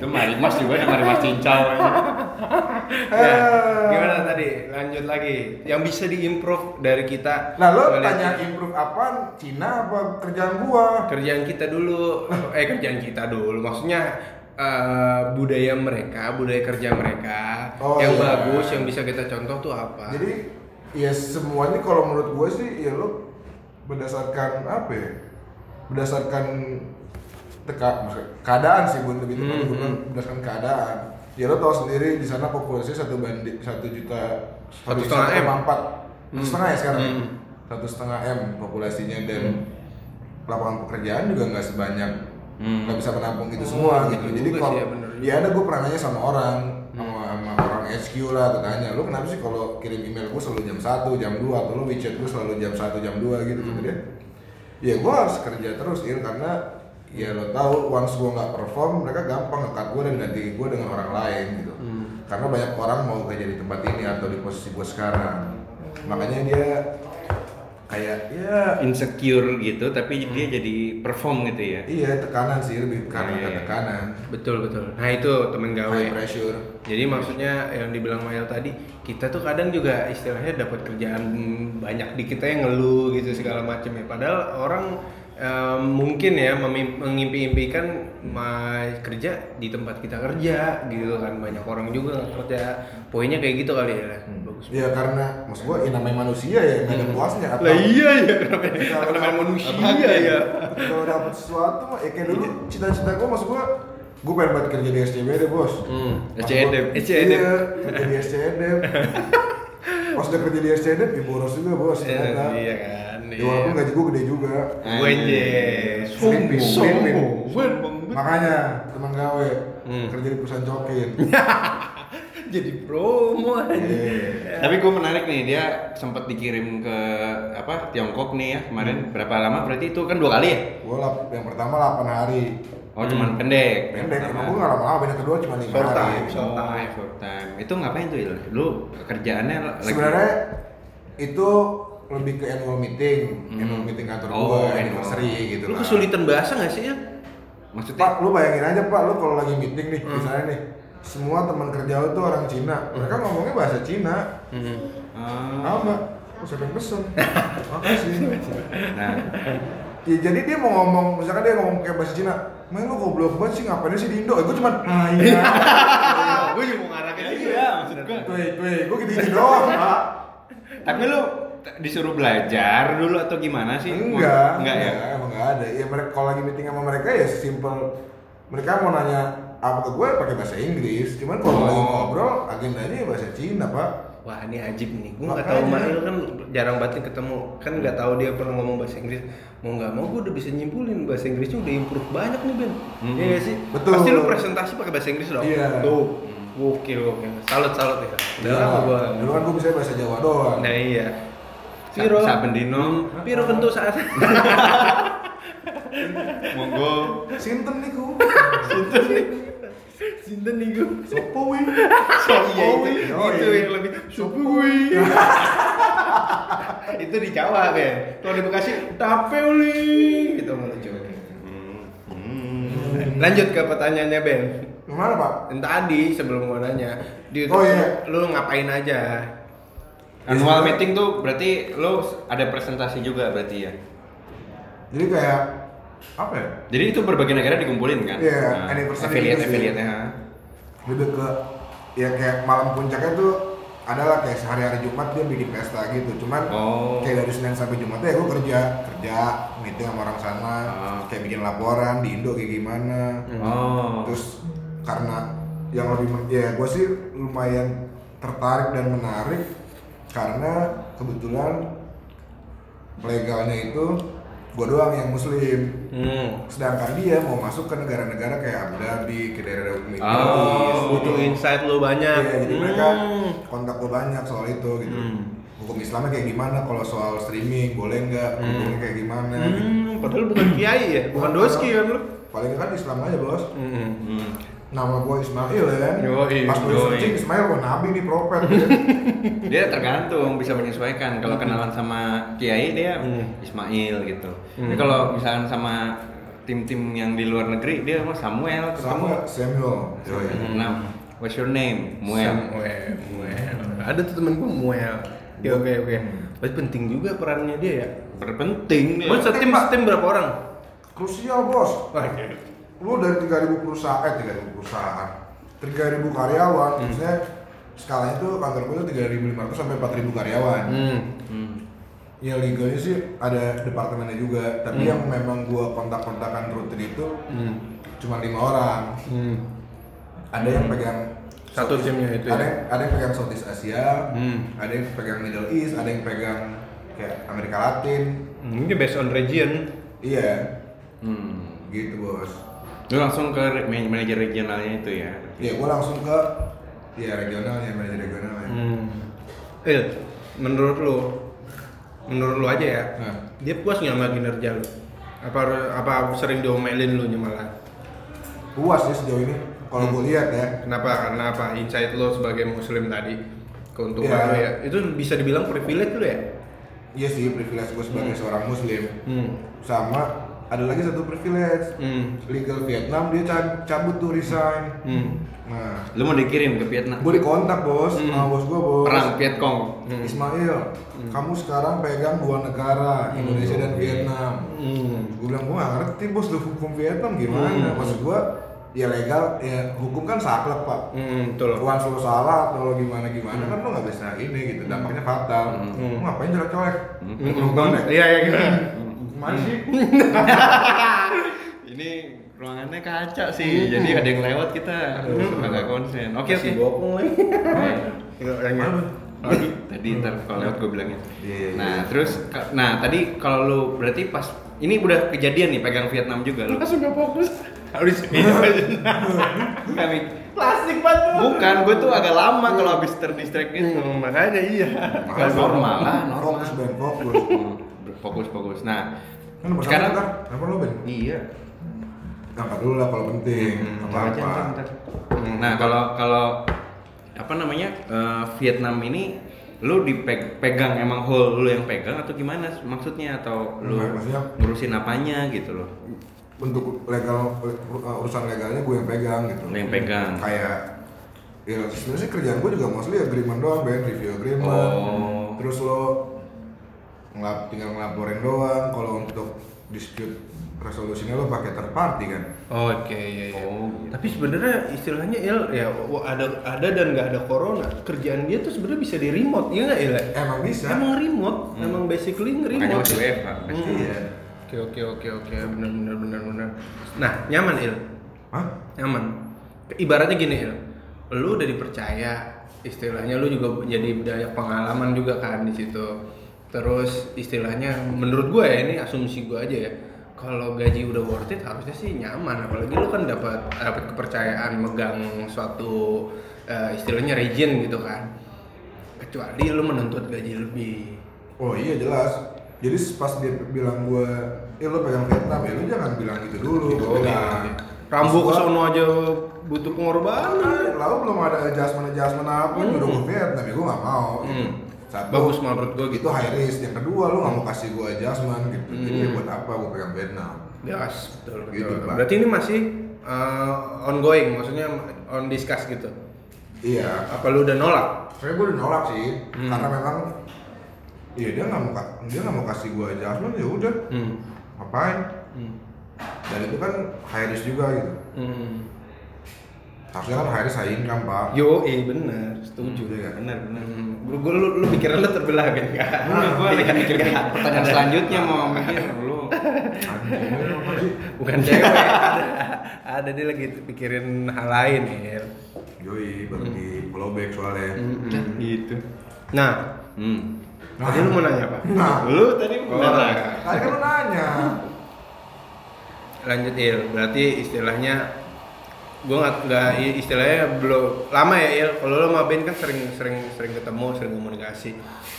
Speaker 1: Itu marimas juga ada marimas cincau.
Speaker 2: Nah, gimana tadi? Lanjut lagi. Yang bisa diimprove dari kita.
Speaker 4: Nah lo
Speaker 2: Soalnya
Speaker 4: tanya improve apa? Cina apa kerjaan gua?
Speaker 2: kerjaan kita dulu. [laughs] Eh kerjaan kita dulu. Maksudnya eh, budaya mereka, budaya kerja mereka
Speaker 4: Oh,
Speaker 2: yang
Speaker 4: iya.
Speaker 2: bagus, yang bisa kita contoh tuh apa?
Speaker 4: Jadi ya semuanya kalau menurut gue sih ya lo berdasarkan apa ya? Berdasarkan teka, maksudnya keadaan sih bun lebih tepatnya
Speaker 2: Hmm,
Speaker 4: gua bilang
Speaker 2: hmm.
Speaker 4: berdasarkan keadaan. Ya lo tau sendiri di sana populasi satu bandi satu juta
Speaker 2: Satu setengah M.
Speaker 4: empat satu
Speaker 2: Hmm.
Speaker 4: setengah ya sekarang
Speaker 2: Hmm.
Speaker 4: satu setengah m populasinya dan
Speaker 2: Mm-hmm.
Speaker 4: lapangan pekerjaan juga nggak sebanyak
Speaker 3: Hmm.
Speaker 4: nggak bisa menampung itu
Speaker 2: Oh,
Speaker 4: semua
Speaker 2: iya
Speaker 4: gitu.
Speaker 2: juga
Speaker 4: Jadi
Speaker 2: sih,
Speaker 4: kalau
Speaker 2: ya, bener juga. Hmm.
Speaker 4: ya ada gue pernah nanya sama orang sama, sama orang HQ lah gue tanya lu kenapa sih kalau kirim email gue selalu jam 1, jam 2 atau lu WeChat gue selalu jam 1, jam 2 gitu
Speaker 2: Hmm.
Speaker 4: Kata dia ya gue harus kerja terus Il karena ya lo tahu once gue nggak perform mereka gampang ngekat gue dan ganti gue dengan orang lain gitu
Speaker 2: Hmm.
Speaker 4: karena banyak orang mau kerja di tempat ini atau di posisi gue sekarang makanya dia kayak ya
Speaker 1: insecure gitu tapi dia
Speaker 2: Hmm.
Speaker 1: jadi perform gitu ya
Speaker 4: iya tekanan sih lebih karena
Speaker 1: Iya, iya.
Speaker 4: tekanan
Speaker 2: Betul betul. Nah itu temen gawe.
Speaker 4: high pressure
Speaker 2: Jadi maksudnya yang dibilang Mael tadi, kita tuh kadang juga istilahnya dapat kerjaan banyak di kita yang ngeluh gitu segala macam ya. Padahal orang eh, mungkin ya memim- mengimpi-impikan ma- kerja di tempat kita kerja gitu kan banyak orang juga nggak kerja. Poinnya kayak gitu kali ya. Bagus.
Speaker 4: Ya karena maksud gua ya namanya manusia ya nggak ada puasnya atau
Speaker 2: Lah iya ya, [laughs]
Speaker 4: Kita
Speaker 2: kenapa namanya
Speaker 4: orang-
Speaker 2: manusia Iya. ya.
Speaker 4: kalau dapat sesuatu mah ya kayak dulu cita-cita gua maksud gua gua pengen banget kerja di SCBD bos.
Speaker 2: Hmm,
Speaker 4: Pas
Speaker 2: SCBD.
Speaker 4: gua-
Speaker 2: SCBD.
Speaker 4: Iya, kerja di SCBD. E
Speaker 2: [laughs]
Speaker 4: Pas udah kerja di SCBD, ya boros juga bos. ternyata.
Speaker 2: Iya kan.
Speaker 4: Ya
Speaker 2: Iya. Eh.
Speaker 4: walaupun gaji gua gede juga.
Speaker 2: Wenje, sombong,
Speaker 4: Sombong.
Speaker 2: sombong, sombong.
Speaker 4: Makanya teman gawe
Speaker 2: Hmm.
Speaker 4: kerja di perusahaan cokin.
Speaker 2: [laughs] Jadi promo aja.
Speaker 4: Iya.
Speaker 1: tapi gue menarik nih dia sempat dikirim ke apa Tiongkok nih ya
Speaker 4: Hmm.
Speaker 1: kemarin berapa lama berarti itu kan dua kali ya
Speaker 4: Gua lap- yang pertama 8 hari.
Speaker 1: oh cuman pendek
Speaker 4: Hmm. Pendek,
Speaker 1: Pertama.
Speaker 4: emang gua nggak lama-lama, yang kedua cuma 5
Speaker 2: Iya, Short
Speaker 4: hari.
Speaker 2: time, short
Speaker 1: Oh,
Speaker 2: time.
Speaker 1: short time. Itu ngapain tuh, Il? Lu kerjaannya lagi
Speaker 4: sebenarnya itu lebih ke annual meeting, annual meeting kantor
Speaker 1: Oh,
Speaker 4: gua,
Speaker 1: annual.
Speaker 4: anniversary gitu
Speaker 2: Lu
Speaker 4: lah.
Speaker 2: kesulitan bahasa gak sih ya?
Speaker 1: maksudnya
Speaker 4: Pak, lu bayangin aja Pak, lu kalau lagi meeting nih,
Speaker 1: Hmm.
Speaker 4: misalnya nih, semua teman kerja lu tuh orang Cina, mereka ngomongnya bahasa Cina,
Speaker 1: Hmm. Ah,
Speaker 4: apa? Oh, siapa yang pesen? Makasih.
Speaker 1: nah,
Speaker 4: Ya, jadi dia mau ngomong, misalkan dia ngomong kayak bahasa Cina, main lu goblok banget sih ngapainnya sih di Indo? Eh, gue cuman, ah iya,
Speaker 1: [laughs]
Speaker 2: gue juga mau ngarah ke
Speaker 1: iya, maksud gua.
Speaker 4: tuh, tuh, gue gitu-gitu doang Pak.
Speaker 1: Tapi lu t- disuruh belajar dulu atau gimana sih?
Speaker 4: enggak
Speaker 1: Enggak ya.
Speaker 4: emang enggak ada ya mereka kalau lagi meeting sama mereka ya simpel mereka mau nanya apa ke gue pakai bahasa Inggris cuman kalau
Speaker 1: Oh.
Speaker 4: lagi ngobrol agendanya ya bahasa Cina pak
Speaker 2: Wah ini ajib nih, gue gak tau
Speaker 4: Makanya.
Speaker 2: Mail kan jarang banget ketemu Kan gak tahu dia pernah ngomong bahasa Inggris Mau gak mau gue udah bisa nyimpulin bahasa Inggrisnya udah improve banyak nih Ben Iya gak sih?
Speaker 4: Betul.
Speaker 2: Pasti lu presentasi pakai bahasa Inggris dong?
Speaker 4: Iya.
Speaker 2: Tuh, oke oke Salut salut ya Udah lama
Speaker 4: Iya.
Speaker 2: gue
Speaker 4: dulu kan gue bisa bahasa Jawa doang
Speaker 2: Nah iya
Speaker 1: Sa-
Speaker 2: Piro,
Speaker 1: Saben dino,
Speaker 2: Piro kentu saat
Speaker 1: monggo.
Speaker 4: Sinten
Speaker 1: [laughs]
Speaker 4: niku
Speaker 2: [laughs] Sinten nih gue
Speaker 1: Oh,
Speaker 4: sopo wi
Speaker 2: Iya itu,
Speaker 4: Yoi.
Speaker 2: itu yang lebih Supui [laughs] Itu di Jawa Ben Kalau di Bekasi Tape uli Gitu melucu Lanjut ke pertanyaannya Ben
Speaker 1: iya.
Speaker 4: gimana pak
Speaker 2: Yang tadi sebelum gua nanya di
Speaker 4: Oh, iya.
Speaker 2: Lu ngapain aja
Speaker 1: Annual meeting tuh berarti lu ada presentasi juga berarti ya.
Speaker 4: jadi kayak apa ya
Speaker 1: Jadi itu berbagai negara dikumpulin kan?
Speaker 4: Iya, anniversary
Speaker 1: affiliate
Speaker 4: gitu sih.
Speaker 1: affiliate ya.
Speaker 4: lebih ke ya kayak malam puncaknya tuh adalah kayak sehari-hari Jumat dia bikin pesta gitu cuman
Speaker 1: Oh.
Speaker 4: kayak dari Senin sampai Jumat ya gue kerja kerja meeting sama orang sana
Speaker 1: Ah.
Speaker 4: kayak bikin laporan di Indo kayak gimana
Speaker 1: Oh.
Speaker 4: terus karena yang lebih men- ya gue sih lumayan tertarik dan menarik karena kebetulan legalnya itu gue doang yang muslim
Speaker 2: Hmm
Speaker 4: sedangkan dia mau masuk ke negara-negara kayak Abu Dhabi ke daerah Uni
Speaker 2: Ah,
Speaker 1: Oh.
Speaker 2: Butuh insight lu banyak
Speaker 4: Iya, jadi mereka
Speaker 2: Hmm.
Speaker 4: kontak gue banyak soal itu gitu. Hukum Islamnya kayak gimana? Kalau soal streaming boleh nggak? Hukumnya kayak gimana? gitu.
Speaker 2: Hmm, padahal bukan kiai ya, bukan doski kan lu.
Speaker 4: Paling kan Islam aja bos.
Speaker 1: Hmm.
Speaker 4: Nama gue Ismail ya kan.
Speaker 2: Yoi,
Speaker 4: Pas gue
Speaker 2: yoi.
Speaker 4: searching Ismail wah nabi nih propet.
Speaker 2: [laughs]
Speaker 4: ya.
Speaker 1: Dia tergantung bisa menyesuaikan. Kalau kenalan sama kiai dia
Speaker 2: Hmm.
Speaker 1: Ismail gitu.
Speaker 2: Hmm.
Speaker 1: Tapi kalau misalkan sama tim-tim yang di luar negeri dia sama Samuel ketemu
Speaker 4: Sama Samuel. Yoi.
Speaker 1: Nah, What's your name? Muel.
Speaker 2: Samuel. Muel. Ada tuh temen gue Muel. Ya, oke oke. Tapi penting juga perannya dia ya.
Speaker 1: Berpenting
Speaker 2: Buat setim setim berapa orang?
Speaker 4: Krusial bos.
Speaker 2: iya.
Speaker 4: Lu dari 3000 perusahaan, eh 3000 perusahaan, 3000 karyawan,
Speaker 2: Hmm.
Speaker 4: maksudnya skalanya tuh kantor gue tuh 3500 sampai 4000 karyawan.
Speaker 2: Hmm.
Speaker 4: Ya legalnya sih ada departemennya juga, tapi
Speaker 2: Hmm.
Speaker 4: yang memang gua kontak-kontakan rutin itu cuma lima orang.
Speaker 2: Hmm.
Speaker 4: Ada yang pegang
Speaker 2: Satu timnya itu
Speaker 4: ada
Speaker 2: Hmm. ya?
Speaker 4: yang, ada yang pegang Southeast Asia,
Speaker 2: Hmm.
Speaker 4: ada yang pegang Middle East, ada yang pegang kayak Amerika Latin.
Speaker 2: Hmm, Ini based on region.
Speaker 4: Iya,
Speaker 1: Hmm.
Speaker 4: gitu bos.
Speaker 1: Lu langsung ke re- man- manajer regionalnya itu ya.
Speaker 4: Ya, gue langsung ke ya regionalnya, manajer regionalnya.
Speaker 2: Hmm. Il, menurut lu, menurut lu aja ya,
Speaker 4: Nah.
Speaker 2: dia puas nggak sama kinerja lu? Apa apa sering diomelin lu malah?
Speaker 4: Puas ya sejauh ini. Kalau
Speaker 2: Hmm.
Speaker 4: gue lihat ya,
Speaker 2: Kenapa? Karena apa? Insight lu sebagai muslim tadi keuntungan
Speaker 4: Iya.
Speaker 2: lu ya, itu bisa dibilang privilege lu ya.
Speaker 4: iya sih privilege gue sebagai seorang muslim.
Speaker 2: Hmm.
Speaker 4: Sama ada lagi satu privilege.
Speaker 2: Hmm.
Speaker 4: Legal Vietnam dia ca- cabut tuh resign.
Speaker 2: Hmm.
Speaker 4: Nah,
Speaker 1: Lu mau dikirim ke Vietnam.
Speaker 4: gue dikontak bos,
Speaker 2: Hmm.
Speaker 4: sama bos gue bos.
Speaker 1: Perang Vietcong.
Speaker 2: Hmm.
Speaker 4: Ismail, kamu sekarang pegang dua negara, Indonesia dan Vietnam.
Speaker 2: Hmm.
Speaker 4: Gue bilang gue gak ngerti bos lu hukum Vietnam gimana.
Speaker 2: Hmm.
Speaker 4: Maksud gue ya legal, ya hukum kan saklek pak.
Speaker 2: Hmm, betul.
Speaker 4: Once lo salah atau lo gimana gimana kan lo nggak bisa ini gitu dampaknya fatal
Speaker 2: Hmm.
Speaker 4: Lo ngapain jelek-jelek
Speaker 2: Hmm,
Speaker 4: Lo nonton deh.
Speaker 2: Iya, iya gitu.
Speaker 4: gimana sih
Speaker 2: Hmm.
Speaker 1: Ini ruangannya kaca sih. Jadi ada yang lewat kita
Speaker 2: Hmm.
Speaker 1: agak konsen. Oke oke.
Speaker 2: Masih bohong lagi. Iya, orangnya.
Speaker 1: Lagi tadi ntar kalau lewat gue bilangnya.
Speaker 4: Iya, iya,
Speaker 1: Nah,
Speaker 4: iya.
Speaker 1: terus ka- nah tadi kalau lu berarti pas ini udah kejadian nih pegang Vietnam juga lu.
Speaker 2: Langsung gak fokus. Harus ini.
Speaker 1: Kami
Speaker 2: Klasik banget. lu.
Speaker 1: bukan gue tuh agak lama kalau habis terdistract gitu.
Speaker 2: Hmm, makanya iya.
Speaker 1: Kalau normal lah, normal. Hmm,
Speaker 4: fokus Ben fokus
Speaker 1: Fokus fokus. Nah,
Speaker 4: kan nomor satu
Speaker 1: Sekarang-
Speaker 4: kan nomor lo Ben
Speaker 1: iya.
Speaker 4: angkat dulu lah kalau penting
Speaker 1: Hmm,
Speaker 4: apa apa
Speaker 1: Nah kalau kalau apa namanya eh, Vietnam ini lu dipegang emang whole lu yang pegang atau gimana maksudnya atau lu
Speaker 4: Enggak, maksudnya-
Speaker 1: ngurusin apanya gitu loh
Speaker 4: untuk legal uh, urusan legalnya gue yang pegang gitu
Speaker 1: lu yang pegang
Speaker 4: kayak ya sebenarnya sih kerjaan gue juga mostly agreement doang Ben review agreement
Speaker 1: Oh.
Speaker 4: terus lo ngelap, tinggal ngelaporin doang kalau untuk dispute resolusinya lo pakai third party kan
Speaker 2: Oke, iya iya.
Speaker 1: Oh, iya.
Speaker 2: Tapi sebenarnya istilahnya Il ya w- ada ada dan nggak ada corona. Kerjaan dia tuh sebenarnya bisa di remote, iya nggak Il?
Speaker 4: Eh, emang bisa
Speaker 2: Emang remote, emang basically
Speaker 1: makanya
Speaker 2: remote.
Speaker 1: masih WFH pasti.
Speaker 4: Iya.
Speaker 2: Oke oke oke oke, benar benar benar benar. Nah nyaman Il,
Speaker 4: Hah?
Speaker 2: nyaman. Ibaratnya gini Il, lu udah dipercaya, istilahnya lu juga jadi banyak pengalaman juga kan di situ. Terus istilahnya menurut gue ya ini asumsi gue aja ya. Kalau gaji udah worth it harusnya sih nyaman, apalagi lu kan dapat dapat kepercayaan megang suatu eh, istilahnya region gitu kan. Kecuali lu menuntut gaji lebih.
Speaker 4: Oh iya jelas. Jadi pas dia bilang gua, eh lo pegang Vietnam ya lo jangan bilang gitu dulu.
Speaker 1: Iya,
Speaker 4: Gua bilang.
Speaker 2: Rambu
Speaker 4: Terus
Speaker 2: ke
Speaker 4: gua,
Speaker 2: sono aja butuh pengorbanan.
Speaker 4: "Ah, Lalu belum ada adjustment adjustment apa nyuruh ke Vietnam ya gue nggak mau. gitu.
Speaker 2: Hmm. Bagus menurut gua gitu.
Speaker 4: Itu high risk. Yang kedua lo nggak mau kasih gua adjustment gitu. Jadi
Speaker 2: Hmm.
Speaker 4: ya buat apa gua pegang Vietnam?
Speaker 2: Yes, betul betul.
Speaker 4: Gitu, Pak.
Speaker 2: Berarti ini masih uh, ongoing, maksudnya on discuss gitu.
Speaker 4: Iya.
Speaker 2: Apa lu udah nolak?
Speaker 4: Saya gue udah nolak sih
Speaker 2: Hmm.
Speaker 4: karena memang Iya dia nggak mau ka- dia nggak mau kasih gua adjustment ya udah
Speaker 2: Hmm.
Speaker 4: ngapain
Speaker 2: Hmm.
Speaker 4: dan itu kan high risk juga gitu
Speaker 2: hmm.
Speaker 4: harusnya kan high risk high income pak
Speaker 2: Yo, eh bener, setuju.
Speaker 4: Iya kan?
Speaker 1: bener bener
Speaker 2: Hmm. Gua, gua- lu, lu pikiran lu terbelah kan? Nggak.
Speaker 1: Nah, gue lagi
Speaker 2: Pikiran-
Speaker 1: mikir
Speaker 2: nggak.
Speaker 1: pertanyaan selanjutnya mau mikir Nah, lu
Speaker 4: Anjing, ini apa sih?
Speaker 2: Bukan cewek, ada, ada dia lagi pikirin hal lain ya.
Speaker 4: Yoi, baru di
Speaker 2: Hmm.
Speaker 4: follow back soalnya
Speaker 1: gitu
Speaker 2: Nah,
Speaker 1: hmm.
Speaker 2: tadi lu mau nanya apa?
Speaker 4: Nah,
Speaker 1: lu tadi
Speaker 2: Oh,
Speaker 1: mana?
Speaker 4: tadi kan lu nanya
Speaker 2: lanjut Il berarti istilahnya gue nggak nggak i- istilahnya belum lama ya Il kalau lo sama Ben kan sering sering sering ketemu sering komunikasi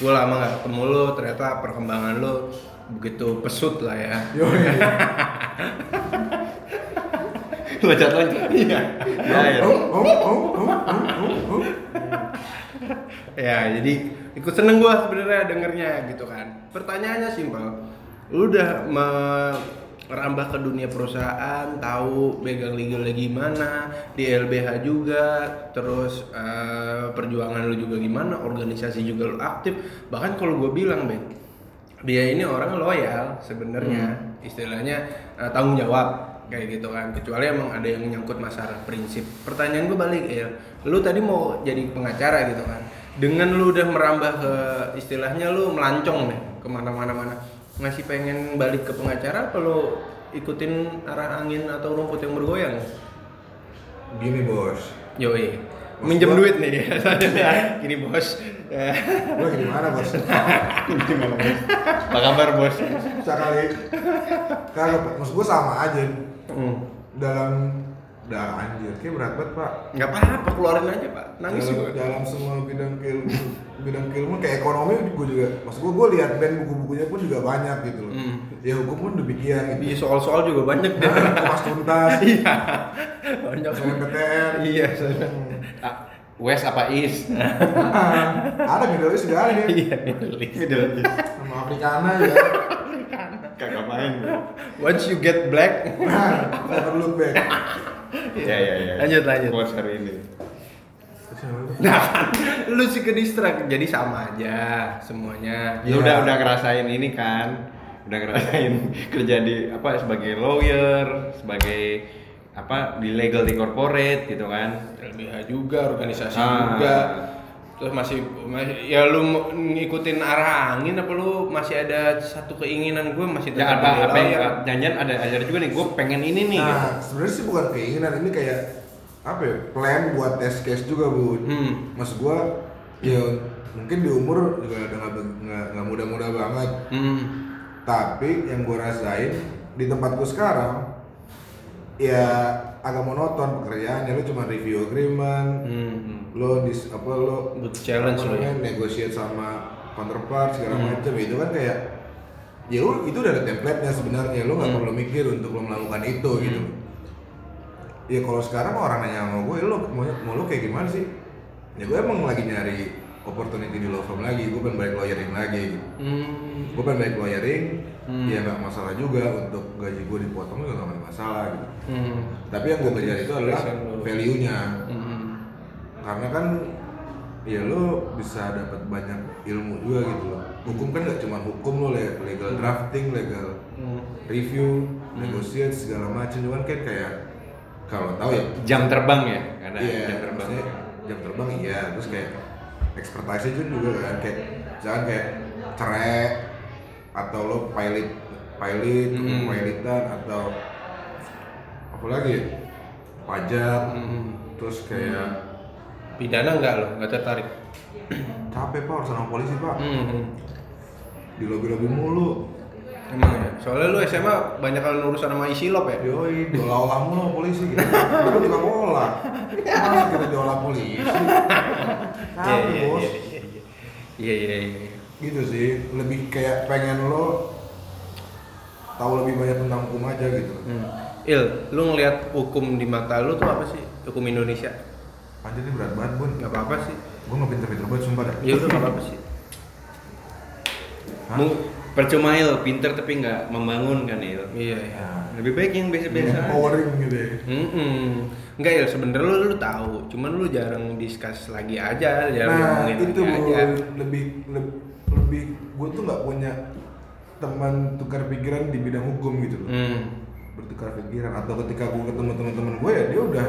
Speaker 2: gue lama nggak ketemu lo ternyata perkembangan lo begitu pesut lah ya
Speaker 4: Yoi,
Speaker 1: loncat loncat iya ya,
Speaker 4: oh, oh, oh, oh, oh, oh, oh.
Speaker 2: ya jadi ikut seneng gue sebenarnya dengernya gitu kan pertanyaannya simpel lu udah me- merambah ke dunia perusahaan, tahu pegang legalnya gimana, di LBH juga, terus eh, perjuangan lu juga gimana, organisasi juga lu aktif. Bahkan kalau gue bilang, Ben, dia ini orang loyal sebenarnya, istilahnya eh, tanggung jawab kayak gitu kan. Kecuali emang ada yang menyangkut masalah prinsip. Pertanyaan gue balik, El, lu tadi mau jadi pengacara gitu kan. Dengan lu udah merambah ke istilahnya lu melancong nih kemana-mana mana masih pengen balik ke pengacara apa lo ikutin arah angin atau rumput yang bergoyang?
Speaker 4: Gini bos,
Speaker 2: Yoi. Minjem duit [laughs] nih Iya. dia. Gini bos.
Speaker 4: lo gimana bos?
Speaker 2: Apa kabar bos?
Speaker 4: Sekali, kalau maksud gue sama aja
Speaker 2: Hmm.
Speaker 4: dalam dalam anjir, kayak berat banget pak.
Speaker 2: Gak apa-apa keluarin aja pak. Nangis
Speaker 4: dalam,
Speaker 2: juga.
Speaker 4: dalam semua bidang keilmu bidang keilmu kayak ekonomi gue juga maksud gue gue lihat band buku-bukunya pun juga banyak gitu loh
Speaker 2: Hmm.
Speaker 4: ya hukum pun demikian
Speaker 2: Iya
Speaker 4: gitu
Speaker 2: soal-soal juga banyak deh.
Speaker 4: nah, kupas tuntas
Speaker 2: Iya. Banyak.
Speaker 4: SNPTN
Speaker 2: Iya. soalnya.
Speaker 3: West apa East?
Speaker 4: ada Middle East juga ada nih
Speaker 2: Iya. Middle East. Iya.
Speaker 4: sama Afrikana ya
Speaker 1: Kagak main.
Speaker 2: Once you get black.
Speaker 4: nah never look back
Speaker 1: Ya ya ya.
Speaker 2: Lanjut, lanjut.
Speaker 1: Quotes hari ini.
Speaker 2: Nah, lu sih ke distract. Jadi sama aja semuanya.
Speaker 1: Lu
Speaker 4: Iya.
Speaker 1: udah udah ngerasain ini kan? Udah ngerasain [laughs] kerja di apa sebagai lawyer, sebagai apa di legal di corporate gitu kan?
Speaker 2: LBH juga, organisasi
Speaker 1: Ah.
Speaker 2: juga. Terus masih, masih- ya lu mau ngikutin arah angin apa lu masih ada satu keinginan gue masih
Speaker 1: Ya
Speaker 2: tetap
Speaker 1: apa apa
Speaker 2: menilai
Speaker 1: yang
Speaker 2: ya?
Speaker 1: janjian ada ajar juga nih, gue pengen ini nih. gitu.
Speaker 4: nah sebenarnya sih bukan keinginan ini kayak apa ya plan buat test case juga bu
Speaker 2: Hmm.
Speaker 4: maksud gue ya mungkin di umur juga udah nggak- nggak nggak muda-muda banget
Speaker 2: Hmm.
Speaker 4: tapi yang gue rasain di tempatku sekarang ya agak monoton pekerjaannya lu cuma review agreement
Speaker 2: Hmm.
Speaker 4: lo dis apa lo
Speaker 2: Butuh challenge
Speaker 4: apa
Speaker 2: lo ya.
Speaker 4: namanya, negotiate sama counterpart segala macam itu kan kayak ya lu- itu udah ada template nya sebenarnya lo nggak perlu mikir untuk lo melakukan itu gitu ya kalau sekarang orang nanya sama gue "Ya lo mau, mau lo kayak gimana sih ya gue emang lagi nyari opportunity di law firm lagi gue pengen balik lawyering lagi gitu
Speaker 2: Hmm.
Speaker 4: gue pengen balik lawyering ya nggak masalah juga untuk gaji gue dipotong juga nggak ada masalah gitu
Speaker 2: Hmm.
Speaker 4: tapi yang gue kejar itu adalah
Speaker 2: Persen dulu.
Speaker 4: value nya
Speaker 2: Hmm.
Speaker 4: karena kan ya lo bisa dapat banyak ilmu juga gitu loh hukum kan nggak cuma hukum lo le- legal drafting legal
Speaker 2: Hmm.
Speaker 4: review negotiate segala macam cuman kan kayak kalau tahu ya
Speaker 1: Jam terbang ya, karena
Speaker 4: Iya,
Speaker 1: jam terbang.
Speaker 4: maksudnya jam terbang iya, terus kayak expertise juga juga kan kayak jangan kayak cerai atau lo pilot pilot
Speaker 2: Hmm.
Speaker 4: pilotan atau apa lagi ya? pajak
Speaker 2: Hmm.
Speaker 4: terus kayak
Speaker 2: Pidana enggak lo, enggak tertarik.
Speaker 4: capek pak urusan sama polisi pak
Speaker 2: Hmm.
Speaker 4: di lobby lobby mulu
Speaker 2: Emang ya. Soalnya lu SMA banyak kali urusan sama isilop ya.
Speaker 4: yoi diolah olah mulu sama polisi gitu lu juga olah masa kita diolah polisi capek
Speaker 2: Iya, iya,
Speaker 4: bos
Speaker 2: iya, iya, iya. Iya iya iya.
Speaker 4: gitu sih lebih kayak pengen lo tahu lebih banyak tentang hukum aja gitu
Speaker 2: Hmm. Il, lu ngelihat hukum di mata lu tuh apa sih? Hukum Indonesia?
Speaker 4: anjir ini berat banget bun
Speaker 2: Gak apa-apa sih.
Speaker 4: gue nggak pinter-pinter banget sumpah dah
Speaker 1: Iya,
Speaker 2: Ya udah gak apa-apa sih.
Speaker 4: Hah?
Speaker 1: Mu- Percuma il, pinter tapi nggak membangun kan il.
Speaker 2: Iya iya.
Speaker 4: Nah,
Speaker 1: Lebih baik yang biasa-biasa. aja.
Speaker 4: empowering gitu ya
Speaker 2: Mm-mm. Enggak ya sebenernya lu, lu tahu, cuman lu jarang discuss lagi aja, jarang
Speaker 4: nah
Speaker 2: ngomongin
Speaker 4: itu
Speaker 2: lagi
Speaker 4: bun
Speaker 2: aja.
Speaker 4: lebih lebih, lebih gue tuh nggak punya teman tukar pikiran di bidang hukum gitu loh
Speaker 2: Hmm.
Speaker 4: bertukar pikiran atau ketika gue ketemu teman-teman gue ya dia udah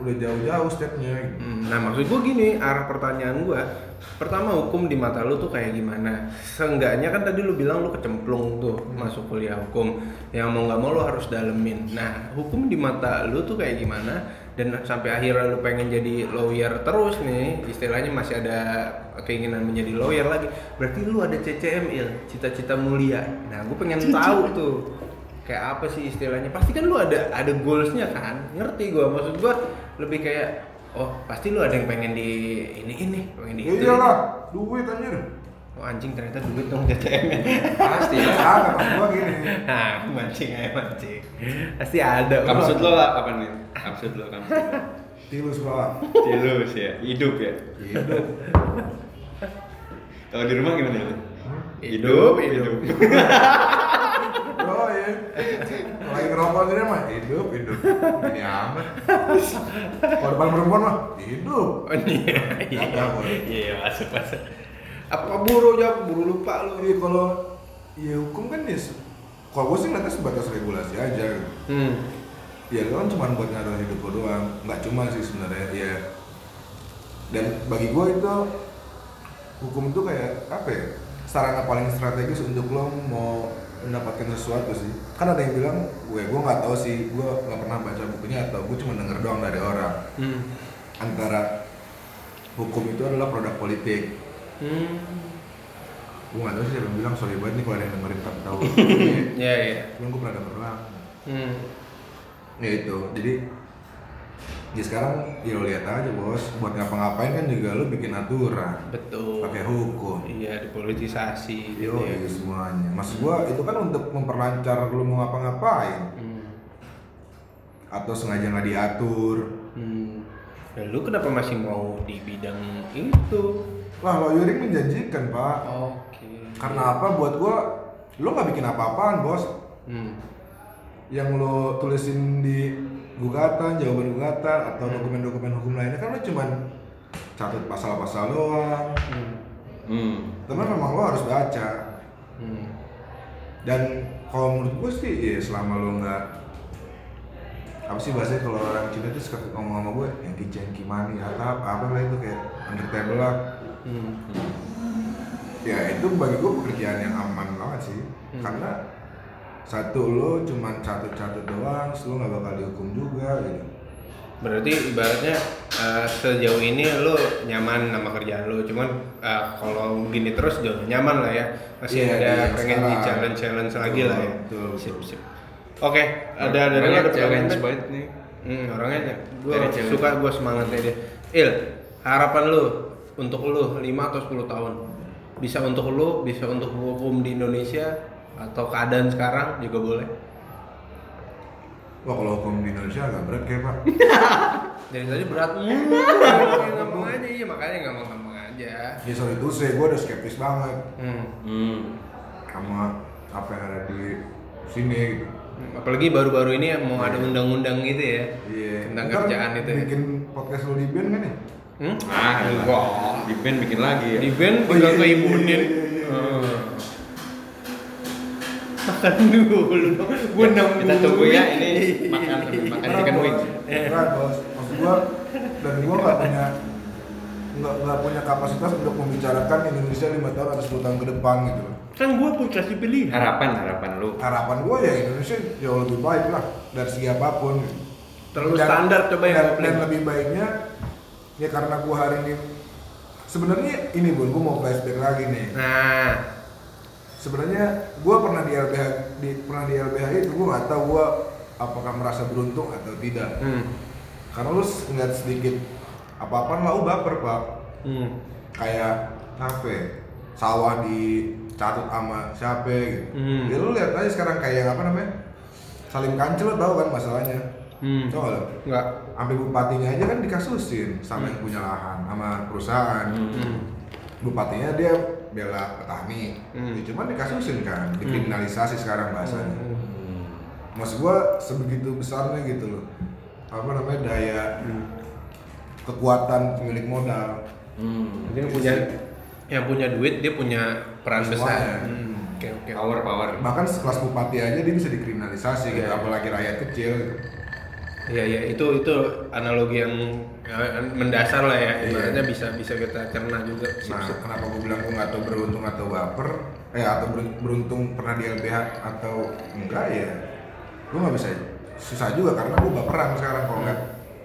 Speaker 4: udah jauh-jauh stepnya gitu.
Speaker 2: Hmm, Nah maksud gua gini, arah pertanyaan gua Pertama hukum di mata lu tuh kayak gimana? Seenggaknya kan tadi lu bilang lu kecemplung tuh masuk kuliah hukum Yang mau nggak mau lu harus dalemin Nah hukum di mata lu tuh kayak gimana? Dan sampai akhirnya lu pengen jadi lawyer terus nih Istilahnya masih ada keinginan menjadi lawyer lagi Berarti lu ada CCM Il, cita-cita mulia Nah gue pengen tahu tuh kayak apa sih istilahnya pasti kan lu ada ada goalsnya kan ngerti gua maksud gua lebih kayak oh pasti lu ada yang pengen di ini ini pengen di
Speaker 4: ya
Speaker 2: itu
Speaker 4: iyalah duit anjir
Speaker 2: oh anjing ternyata duit dong CCM -nya.
Speaker 1: Pasti ya.
Speaker 4: ah maksud gue gini
Speaker 2: [laughs] nah mancing aja mancing pasti ada
Speaker 1: Kamsud lo apa nih? Kamsud lo kamsud. lo.
Speaker 4: tilus pak
Speaker 1: Cilus ya, hidup ya.
Speaker 4: hidup
Speaker 1: Kalau di rumah gimana ya?
Speaker 2: Hidup, hidup.
Speaker 4: Oh ya. rokok sendiri mah hidup hidup ini amat korban perempuan mah hidup
Speaker 2: [laughs] Oh, iya, iya,
Speaker 4: Kagak, boy.
Speaker 2: iya, masuk masuk. Apa buru jawab buru lupa lu?
Speaker 4: Iya kalau ya hukum kan ya se- kalau gue sih ngeliatnya sebatas regulasi aja gitu.
Speaker 2: Hmm.
Speaker 4: Ya lo kan cuma buat ngaruh hidup lo doang, nggak cuma sih sebenarnya ya. Dan bagi gue itu hukum itu kayak apa ya? Sarana paling strategis untuk lo mau mendapatkan sesuatu sih. Kan ada yang bilang, gue gue nggak tahu sih, gue nggak pernah baca bukunya atau gue cuma denger doang dari orang.
Speaker 2: Hmm.
Speaker 4: Antara hukum itu adalah produk politik.
Speaker 2: Hmm.
Speaker 4: Gue nggak tahu sih siapa yang bilang sorry banget nih kalau ada yang dengerin tapi tahu.
Speaker 2: Iya, iya.
Speaker 4: cuman gue pernah denger doang
Speaker 2: Hmm.
Speaker 4: ya itu jadi ya sekarang ya lo lihat aja bos buat ngapa-ngapain kan juga lo bikin aturan
Speaker 2: Betul.
Speaker 4: pakai hukum
Speaker 2: Iya, dipolitisasi gitu
Speaker 4: yo iya.
Speaker 2: ya.
Speaker 4: semuanya maksud gua itu kan untuk memperlancar lo mau ngapa-ngapain
Speaker 2: Hmm.
Speaker 4: atau sengaja nggak diatur
Speaker 2: Hmm. Ya, lu kenapa masih mau di bidang itu?
Speaker 4: lah lawyering menjanjikan pak
Speaker 2: Oke.
Speaker 4: karena apa buat gua lo nggak bikin apa-apaan bos
Speaker 2: Hmm.
Speaker 4: yang lo tulisin di gugatan jawaban gugatan atau dokumen-dokumen hukum lainnya kan lo cuman catat pasal-pasal doang
Speaker 2: Hmm.
Speaker 1: Hmm.
Speaker 4: tapi memang lo harus baca
Speaker 2: Hmm.
Speaker 4: dan kalau menurut gue sih ya selama lo nggak apa sih bahasanya kalau orang Cina tuh suka ngomong sama gue yang jengki mani atau apa, apa lah itu kayak undertable lah
Speaker 2: Hmm.
Speaker 4: ya itu bagi gue pekerjaan yang aman banget sih
Speaker 2: Hmm.
Speaker 4: karena satu lo cuman satu-satu doang terus lo nggak bakal dihukum juga gitu
Speaker 2: Berarti ibaratnya eh, sejauh ini lu nyaman sama kerjaan lu, cuman eh, kalau gini terus jangan nyaman lah ya. Masih
Speaker 4: Iya,
Speaker 2: ada
Speaker 4: iya,
Speaker 2: pengen
Speaker 4: sekarang.
Speaker 2: di challenge challenge lagi
Speaker 4: Betul,
Speaker 2: lah ya.
Speaker 4: betul, betul.
Speaker 2: Sip, sip. Oke, ada dari lu
Speaker 1: Banyak
Speaker 2: ada pertanyaan?
Speaker 1: challenge
Speaker 2: Ted?
Speaker 1: banget nih.
Speaker 2: Hmm, orangnya gue
Speaker 1: Dari challenge.
Speaker 2: suka gue
Speaker 4: ya
Speaker 2: semangatnya dia. Il, harapan lu untuk lu 5 atau 10 tahun bisa untuk lu, bisa untuk hukum di Indonesia atau keadaan sekarang juga boleh.
Speaker 4: wah kalau hukum di Indonesia agak berat kayak
Speaker 2: [laughs]
Speaker 4: pak
Speaker 2: Dari tadi berat mulu. Gampang aja iya makanya gampang-gampang aja.
Speaker 4: ya sorry tuh saya gue udah skeptis banget
Speaker 2: Hmm.
Speaker 1: Hmm.
Speaker 4: sama apa yang ada di sini gitu
Speaker 2: Apalagi baru-baru ini mau ada undang-undang gitu ya. Tentang
Speaker 4: Iya. Ntar
Speaker 2: kerjaan itu ya.
Speaker 4: bikin podcast lo di band kan ya
Speaker 2: Hmm?
Speaker 1: Ah,
Speaker 2: Wah.
Speaker 1: di band bikin lagi ya.
Speaker 2: Di band
Speaker 4: Oh,
Speaker 2: tinggal
Speaker 4: iya, iya,
Speaker 2: keimunin.
Speaker 4: iya, iya, iya.
Speaker 2: Hmm. Makan dulu dong. Gua nungguin.
Speaker 1: Kita tunggu ya ini makan sambil makan
Speaker 4: Berat,
Speaker 1: chicken
Speaker 4: Bos.
Speaker 1: wings.
Speaker 2: Eh.
Speaker 4: Berat, bos. Maksud gua dan gua nggak punya nggak nggak punya kapasitas untuk membicarakan Indonesia lima tahun atau 10 tahun ke depan gitu. loh.
Speaker 2: Kan gua pun kasih pilihan.
Speaker 1: Harapan harapan lu.
Speaker 4: Harapan gua ya Indonesia jauh lebih baik lah dari segi apapun. gitu.
Speaker 2: Terlalu standar coba yang
Speaker 4: dan,
Speaker 2: opening.
Speaker 4: dan lebih baiknya ya karena gua hari ini sebenarnya ini bun gua mau flashback lagi nih.
Speaker 2: Nah,
Speaker 4: Sebenarnya gua pernah di LBH di pernah di LBH itu gua nggak tahu gua apakah merasa beruntung atau tidak.
Speaker 2: hmm.
Speaker 4: karena lu ngeliat sedikit apa-apaan lah, lu baper pak
Speaker 2: Hmm.
Speaker 4: kayak apa ya, sawah di catut sama siapa gitu
Speaker 2: Hmm.
Speaker 4: ya lu lihat aja sekarang kayak apa namanya Salim Kancil lo tau kan masalahnya
Speaker 2: Hmm.
Speaker 4: tau gak lo?
Speaker 2: Enggak.
Speaker 4: sampai bupatinya aja kan dikasusin sama yang punya lahan sama perusahaan
Speaker 2: Hmm.
Speaker 4: bupatinya dia bela petani
Speaker 2: Hmm.
Speaker 4: Ya, cuman dikasusin kan dikriminalisasi sekarang bahasanya
Speaker 1: Hmm.
Speaker 4: Mas gua sebegitu besarnya gitu loh apa namanya daya kekuatan pemilik modal
Speaker 1: Hmm.
Speaker 2: Mungkin punya yang punya duit dia punya peran
Speaker 4: Semuanya.
Speaker 2: besar.
Speaker 4: Hmm.
Speaker 2: Hmm, Oke oke.
Speaker 1: Power power.
Speaker 4: bahkan sekelas bupati aja dia bisa dikriminalisasi gitu
Speaker 2: Iya.
Speaker 4: apalagi rakyat kecil gitu.
Speaker 2: Iya iya itu itu analogi yang ya, mendasar lah ya.
Speaker 4: Iya.
Speaker 2: Ibaratnya bisa bisa kita cerna juga. Sip,
Speaker 4: nah
Speaker 2: sip.
Speaker 4: kenapa gua bilang gua nggak tahu beruntung atau baper eh atau ber- beruntung pernah di LBH atau enggak ya gua nggak bisa susah juga karena gua baperan sekarang kalau nggak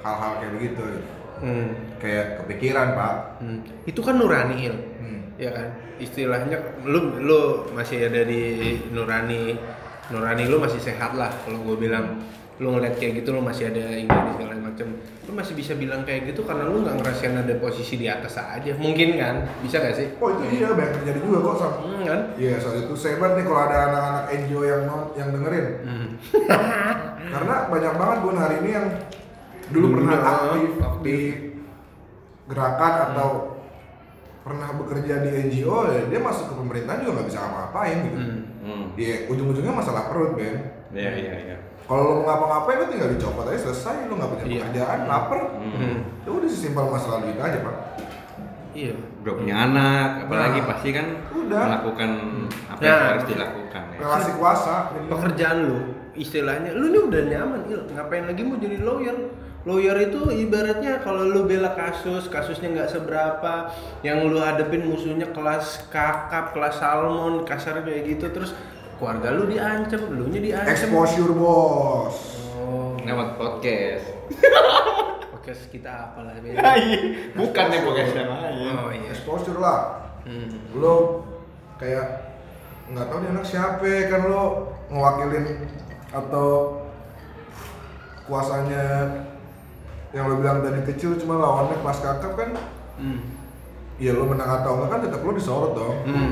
Speaker 4: hal-hal kayak begitu gitu.
Speaker 2: Hmm,
Speaker 4: kayak kepikiran pak
Speaker 2: hmm. Itu kan nurani il.
Speaker 4: Hmm.
Speaker 2: Ya kan. Istilahnya lu lu masih ada di nurani nurani lu masih sehat lah kalau gue bilang lu ngeliat kayak gitu lu masih ada ini segala macam lu masih bisa bilang kayak gitu karena lu nggak ngerasain ada posisi di atas aja mungkin kan bisa gak sih
Speaker 4: oh itu iya banyak terjadi juga kok sama
Speaker 2: hmm, kan
Speaker 4: Iya, soal itu sebat nih kalau ada anak-anak NGO yang non- yang dengerin.
Speaker 2: Hmm.
Speaker 4: Karena banyak banget gue hari ini yang dulu
Speaker 2: Dulu
Speaker 4: pernah
Speaker 2: ya,
Speaker 4: aktif,
Speaker 2: aktif. Hmm.
Speaker 4: di gerakan atau pernah bekerja di NGO, ya dia masuk ke pemerintahan juga nggak bisa ngapa-ngapain gitu.
Speaker 2: Hmm.
Speaker 1: Hmm.
Speaker 4: Iya, ujung-ujungnya masalah perut, Ben.
Speaker 1: Iya, iya, iya.
Speaker 4: Kalau lo mau ngapa-ngapain lo tinggal dicopot aja selesai, lo nggak punya
Speaker 2: Iya.
Speaker 4: pekerjaan, lapar,
Speaker 1: Hmm.
Speaker 4: ya udah sesimpel masalah duit aja pak.
Speaker 2: Iya.
Speaker 1: Udah punya anak, apalagi
Speaker 4: Nah.
Speaker 1: pasti kan
Speaker 4: Udah.
Speaker 1: melakukan apa yang
Speaker 2: Nah.
Speaker 1: harus dilakukan ya.
Speaker 4: Relasi kuasa.
Speaker 2: Pekerjaan lu, istilahnya lu ini udah nyaman, Il. Ngapain lagi mau jadi lawyer? Lawyer itu ibaratnya kalau lu bela kasus, kasusnya nggak seberapa, yang lu hadepin musuhnya kelas kakap, kelas salmon, kasar kayak gitu, terus keluarga lu diancam, lu nya diancam.
Speaker 4: Exposure bos.
Speaker 2: Oh,
Speaker 3: Lewat podcast.
Speaker 2: oke kita apalah
Speaker 3: Bukan nih podcast yang
Speaker 1: Nah,
Speaker 3: lain.
Speaker 2: Oh iya. Hmm.
Speaker 4: Exposure lah. Lo kayak nggak tahu nih anak siapa kan lo ngewakilin atau kuasanya yang lo bilang dari kecil cuma lawannya kelas kakap kan
Speaker 2: Hmm.
Speaker 4: ya lo menang atau enggak kan tetap lo disorot dong
Speaker 2: Hmm.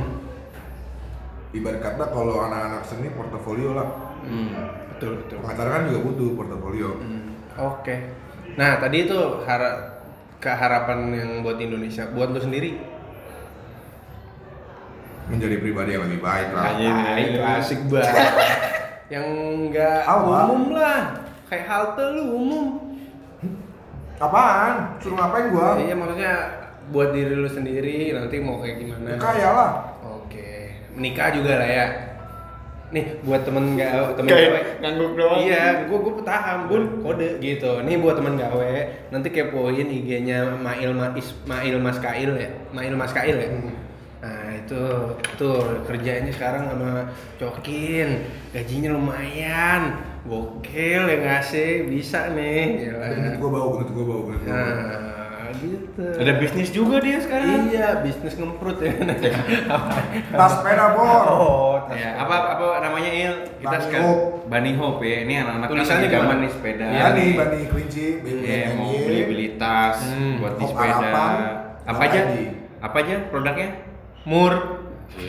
Speaker 4: ibarat kata kalau anak-anak seni portofolio lah
Speaker 2: Hmm. Betul betul.
Speaker 4: pengacara kan juga butuh portofolio
Speaker 2: Hmm. Oke. Nah tadi itu hara keharapan yang buat Indonesia, buat lo sendiri.
Speaker 4: menjadi pribadi yang lebih baik lah
Speaker 1: Iya, iya,
Speaker 2: Ah, itu
Speaker 1: iya.
Speaker 2: asik banget. yang enggak
Speaker 4: Apa?
Speaker 2: umum lah, kayak halte lu umum.
Speaker 4: apaan suruh ngapain gua
Speaker 2: Iya maksudnya buat diri lu sendiri nanti mau kayak gimana.
Speaker 4: kaya lah
Speaker 2: Oke. Menikah juga lah ya. Nih buat temen nggak temen
Speaker 1: Kayak
Speaker 2: cewek.
Speaker 1: ngangguk doang.
Speaker 2: Iya, gue gue paham, bun kode gitu. Nih buat temen gawe, nanti kepoin IG-nya Mail Mas Mail Mas Kail ya, Mail Mas Kail ya.
Speaker 1: Hmm.
Speaker 2: Nah itu tuh kerjanya sekarang sama cokin, gajinya lumayan, gokil ya nggak sih, bisa nih. Gila.
Speaker 4: Gendut gua bau gendut gua bau gendut gua bau.
Speaker 2: Nah gitu.
Speaker 1: Ada bisnis juga dia sekarang.
Speaker 2: Iya, bisnis ngemprut
Speaker 1: [laughs]
Speaker 2: ya.
Speaker 4: tas sepeda bor
Speaker 2: oh,
Speaker 1: Ya, apa apa namanya Il? Kita
Speaker 4: Bunny
Speaker 1: sekarang
Speaker 4: Hope.
Speaker 1: Bunny Hope ya. Ini anak-anak kan
Speaker 2: Tulisannya
Speaker 1: lagi zaman
Speaker 2: gimana?
Speaker 1: Iya, nih sepeda.
Speaker 4: ya nih bani kelinci BBNY.
Speaker 1: Iya, mau beli beli tas
Speaker 2: Hmm.
Speaker 1: buat di
Speaker 4: Hope
Speaker 1: sepeda.
Speaker 4: harapan,
Speaker 1: Apa
Speaker 4: Bang
Speaker 1: aja?
Speaker 4: Adi.
Speaker 1: Apa aja produknya?
Speaker 2: mur.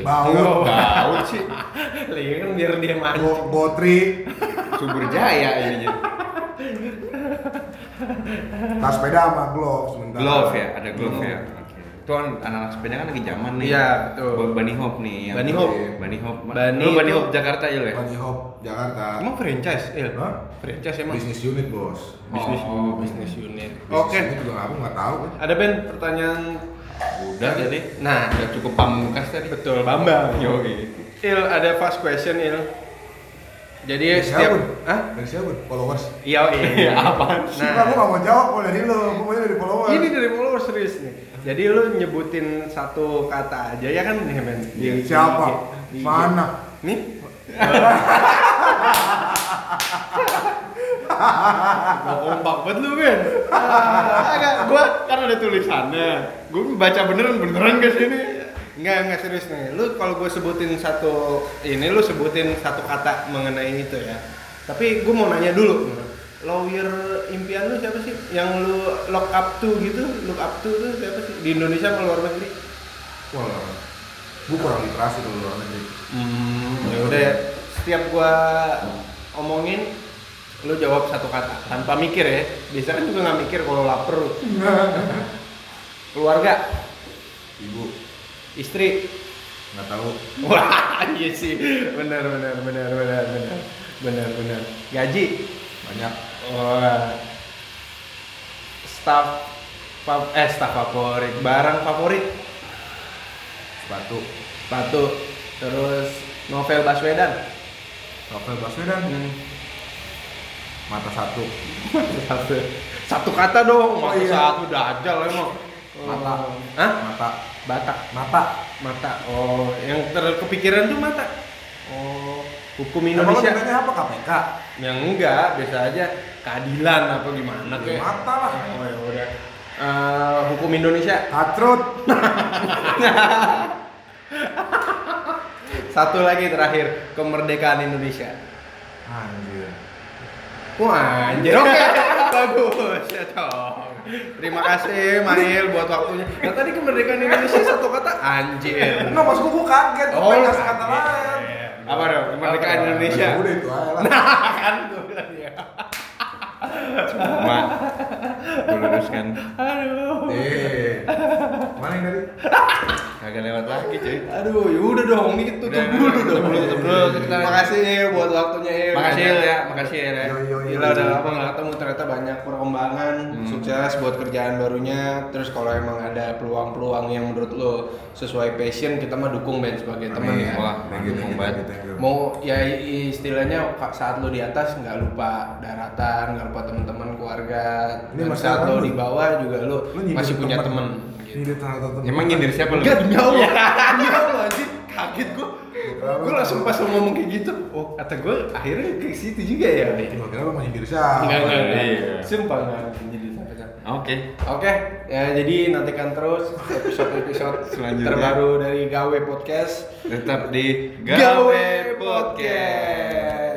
Speaker 4: bau
Speaker 1: Bau sih.
Speaker 2: Lagi kan biar dia maju.
Speaker 4: Bo- botri
Speaker 1: Subur Jaya ini.
Speaker 4: tas sepeda sama gloves sebentar
Speaker 1: Glove ya, ada glove ya. Itu kan anak-anak sepeda kan lagi zaman nih.
Speaker 2: Iya, betul.
Speaker 1: Buat Bunny Hop nih. yang- Iya,
Speaker 2: Bunny Hop.
Speaker 1: Bunny Hop.
Speaker 2: Bunny
Speaker 1: Lu Bunny
Speaker 2: itu-
Speaker 1: Hop Jakarta aja ya?
Speaker 4: Bunny Hop Jakarta
Speaker 2: iya. Emang franchise, Il?
Speaker 4: Hah?
Speaker 2: Iya. Franchise emang?
Speaker 4: bisnis unit bos
Speaker 2: Bisnis
Speaker 1: Oh.
Speaker 2: bisnis unit.
Speaker 4: Bisnis
Speaker 2: Oke.
Speaker 4: unit juga aku nggak tahu kan
Speaker 2: Ada Ben pertanyaan
Speaker 1: Udah jadi.
Speaker 2: Nah,
Speaker 1: Udah cukup pamungkas tadi.
Speaker 2: betul Bambang.
Speaker 1: Yoi.
Speaker 2: Il ada fast question, Il. Jadi iya, setiap
Speaker 4: siapa?
Speaker 2: Hah?
Speaker 4: dari siapa followers
Speaker 2: Iya, iya.
Speaker 1: Apa?
Speaker 4: Nah,
Speaker 2: Nah,
Speaker 4: aku nggak mau jawab kalau dari lo, aku maunya dari followers.
Speaker 2: ini dari follower serius nih. Jadi lu nyebutin satu kata aja ya kan, ya, Ben? Di- di-
Speaker 4: Iya, Siapa?
Speaker 2: di- di-
Speaker 4: Mana?
Speaker 2: Nih.
Speaker 1: Ah,
Speaker 2: Gua kompak banget lu, Ben.
Speaker 1: Agak, gua kan ada tulisannya. Gua baca beneran beneran ke sini.
Speaker 2: Enggak, enggak serius nih. Lu kalau gue sebutin satu ini lu sebutin satu kata mengenai itu ya. Tapi gue mau nanya dulu. Lawyer impian lu siapa sih? Yang lu look up to gitu, look up to tuh siapa sih? Di Indonesia sama luar negeri?
Speaker 4: Wah, gue kurang literasi kalau luar negeri.
Speaker 2: Hmm, ya udah ya. Setiap gua omongin lu jawab satu kata tanpa mikir ya. Biasanya kan juga nggak mikir kalau lapar. lu. Keluarga,
Speaker 4: Ibu,
Speaker 2: istri,
Speaker 4: nggak tahu.
Speaker 2: [laughs] Wah, iya sih. Benar, benar, benar, benar, benar. Benar, benar. Gaji.
Speaker 4: Banyak.
Speaker 2: Wah. Staff fa- eh staff favorit, barang favorit,
Speaker 4: Sepatu.
Speaker 2: sepatu, terus novel Baswedan.
Speaker 4: Novel Baswedan. Mata satu.
Speaker 2: Satu, satu kata dong,
Speaker 4: Oh,
Speaker 2: mata
Speaker 4: iya. Oh.
Speaker 2: satu dajal emang.
Speaker 4: Mata.
Speaker 2: Hah?
Speaker 4: Mata.
Speaker 2: Batak,
Speaker 4: Mata.
Speaker 2: mata. Oh, yang terkepikiran tuh mata. Oh, hukum
Speaker 4: Emang lo
Speaker 2: Indonesia.
Speaker 4: tanya apa KPK?
Speaker 2: yang enggak biasa aja keadilan apa gimana
Speaker 4: Ya,
Speaker 2: kayak
Speaker 4: mata lah.
Speaker 2: oh ya udah Eh, hukum Indonesia
Speaker 4: Katrut.
Speaker 2: satu lagi terakhir kemerdekaan Indonesia
Speaker 4: Anjir.
Speaker 2: wah anjir
Speaker 1: [laughs]
Speaker 2: oke bagus ya dong terima kasih Mail buat waktunya nah tadi kemerdekaan Indonesia satu kata anjir
Speaker 4: Enggak maksud gue kaget.
Speaker 1: Oh,
Speaker 4: Gue
Speaker 1: iya,
Speaker 4: pengen kasih kata
Speaker 2: Oh, kaget.
Speaker 4: lain.
Speaker 1: Apa dong? Kemerdekaan
Speaker 2: Apa?
Speaker 1: Indonesia.
Speaker 4: Udah itu aja lah.
Speaker 2: kan gue bilang ya
Speaker 1: Cuma. Gue luruskan.
Speaker 2: aduh
Speaker 4: Eh, Iya, Mana yang tadi?
Speaker 1: Kagak lewat lagi cuy.
Speaker 2: Aduh, yaudah dong, ini tutup
Speaker 1: Udah,
Speaker 2: dulu
Speaker 1: udah,
Speaker 2: dong.
Speaker 1: tutup, tutup dulu, kita-
Speaker 2: Makasih Il, buat waktunya Il.
Speaker 1: Makasih Il, ya, makasih Il, ya.
Speaker 4: Yo, yo, yo,
Speaker 2: Gila udah
Speaker 4: yo.
Speaker 2: lama nggak ketemu ternyata banyak perkembangan,
Speaker 4: Hmm.
Speaker 2: sukses buat kerjaan barunya. Terus kalau emang ada peluang-peluang yang menurut lo sesuai passion, kita mah dukung Ben sebagai teman
Speaker 4: Amin.
Speaker 2: ya.
Speaker 1: Wah,
Speaker 4: Iya, Thank you, thank you, thank you, thank you.
Speaker 2: Mau ya i- istilahnya fa- saat lo di atas nggak lupa daratan, nggak lupa teman-teman keluarga.
Speaker 4: Ini
Speaker 2: Dan
Speaker 4: masalah
Speaker 2: saat lo
Speaker 4: lu.
Speaker 2: di bawah juga lo
Speaker 4: Lu nyindir
Speaker 2: masih punya
Speaker 4: temen. Iya.
Speaker 2: teman.
Speaker 4: Nyindir ternyata temen.
Speaker 1: Emang nyindir siapa lu?
Speaker 2: Enggak demi Allah, demi Allah anjir kaget gue.
Speaker 4: Iya,
Speaker 2: Gue langsung pas lo ngomong kayak gitu, oh kata gue akhirnya ke situ juga ya.
Speaker 4: Gua kira lu mau nyindir siapa?
Speaker 2: Enggak enggak,
Speaker 1: Iya.
Speaker 2: enggak. Sumpah enggak jadi sampai sana.
Speaker 1: Oke.
Speaker 2: Oke, ya jadi nantikan terus episode-episode
Speaker 1: [laughs] Selanjutnya.
Speaker 2: terbaru dari Gawe Podcast.
Speaker 1: Tetap di
Speaker 2: Podcast.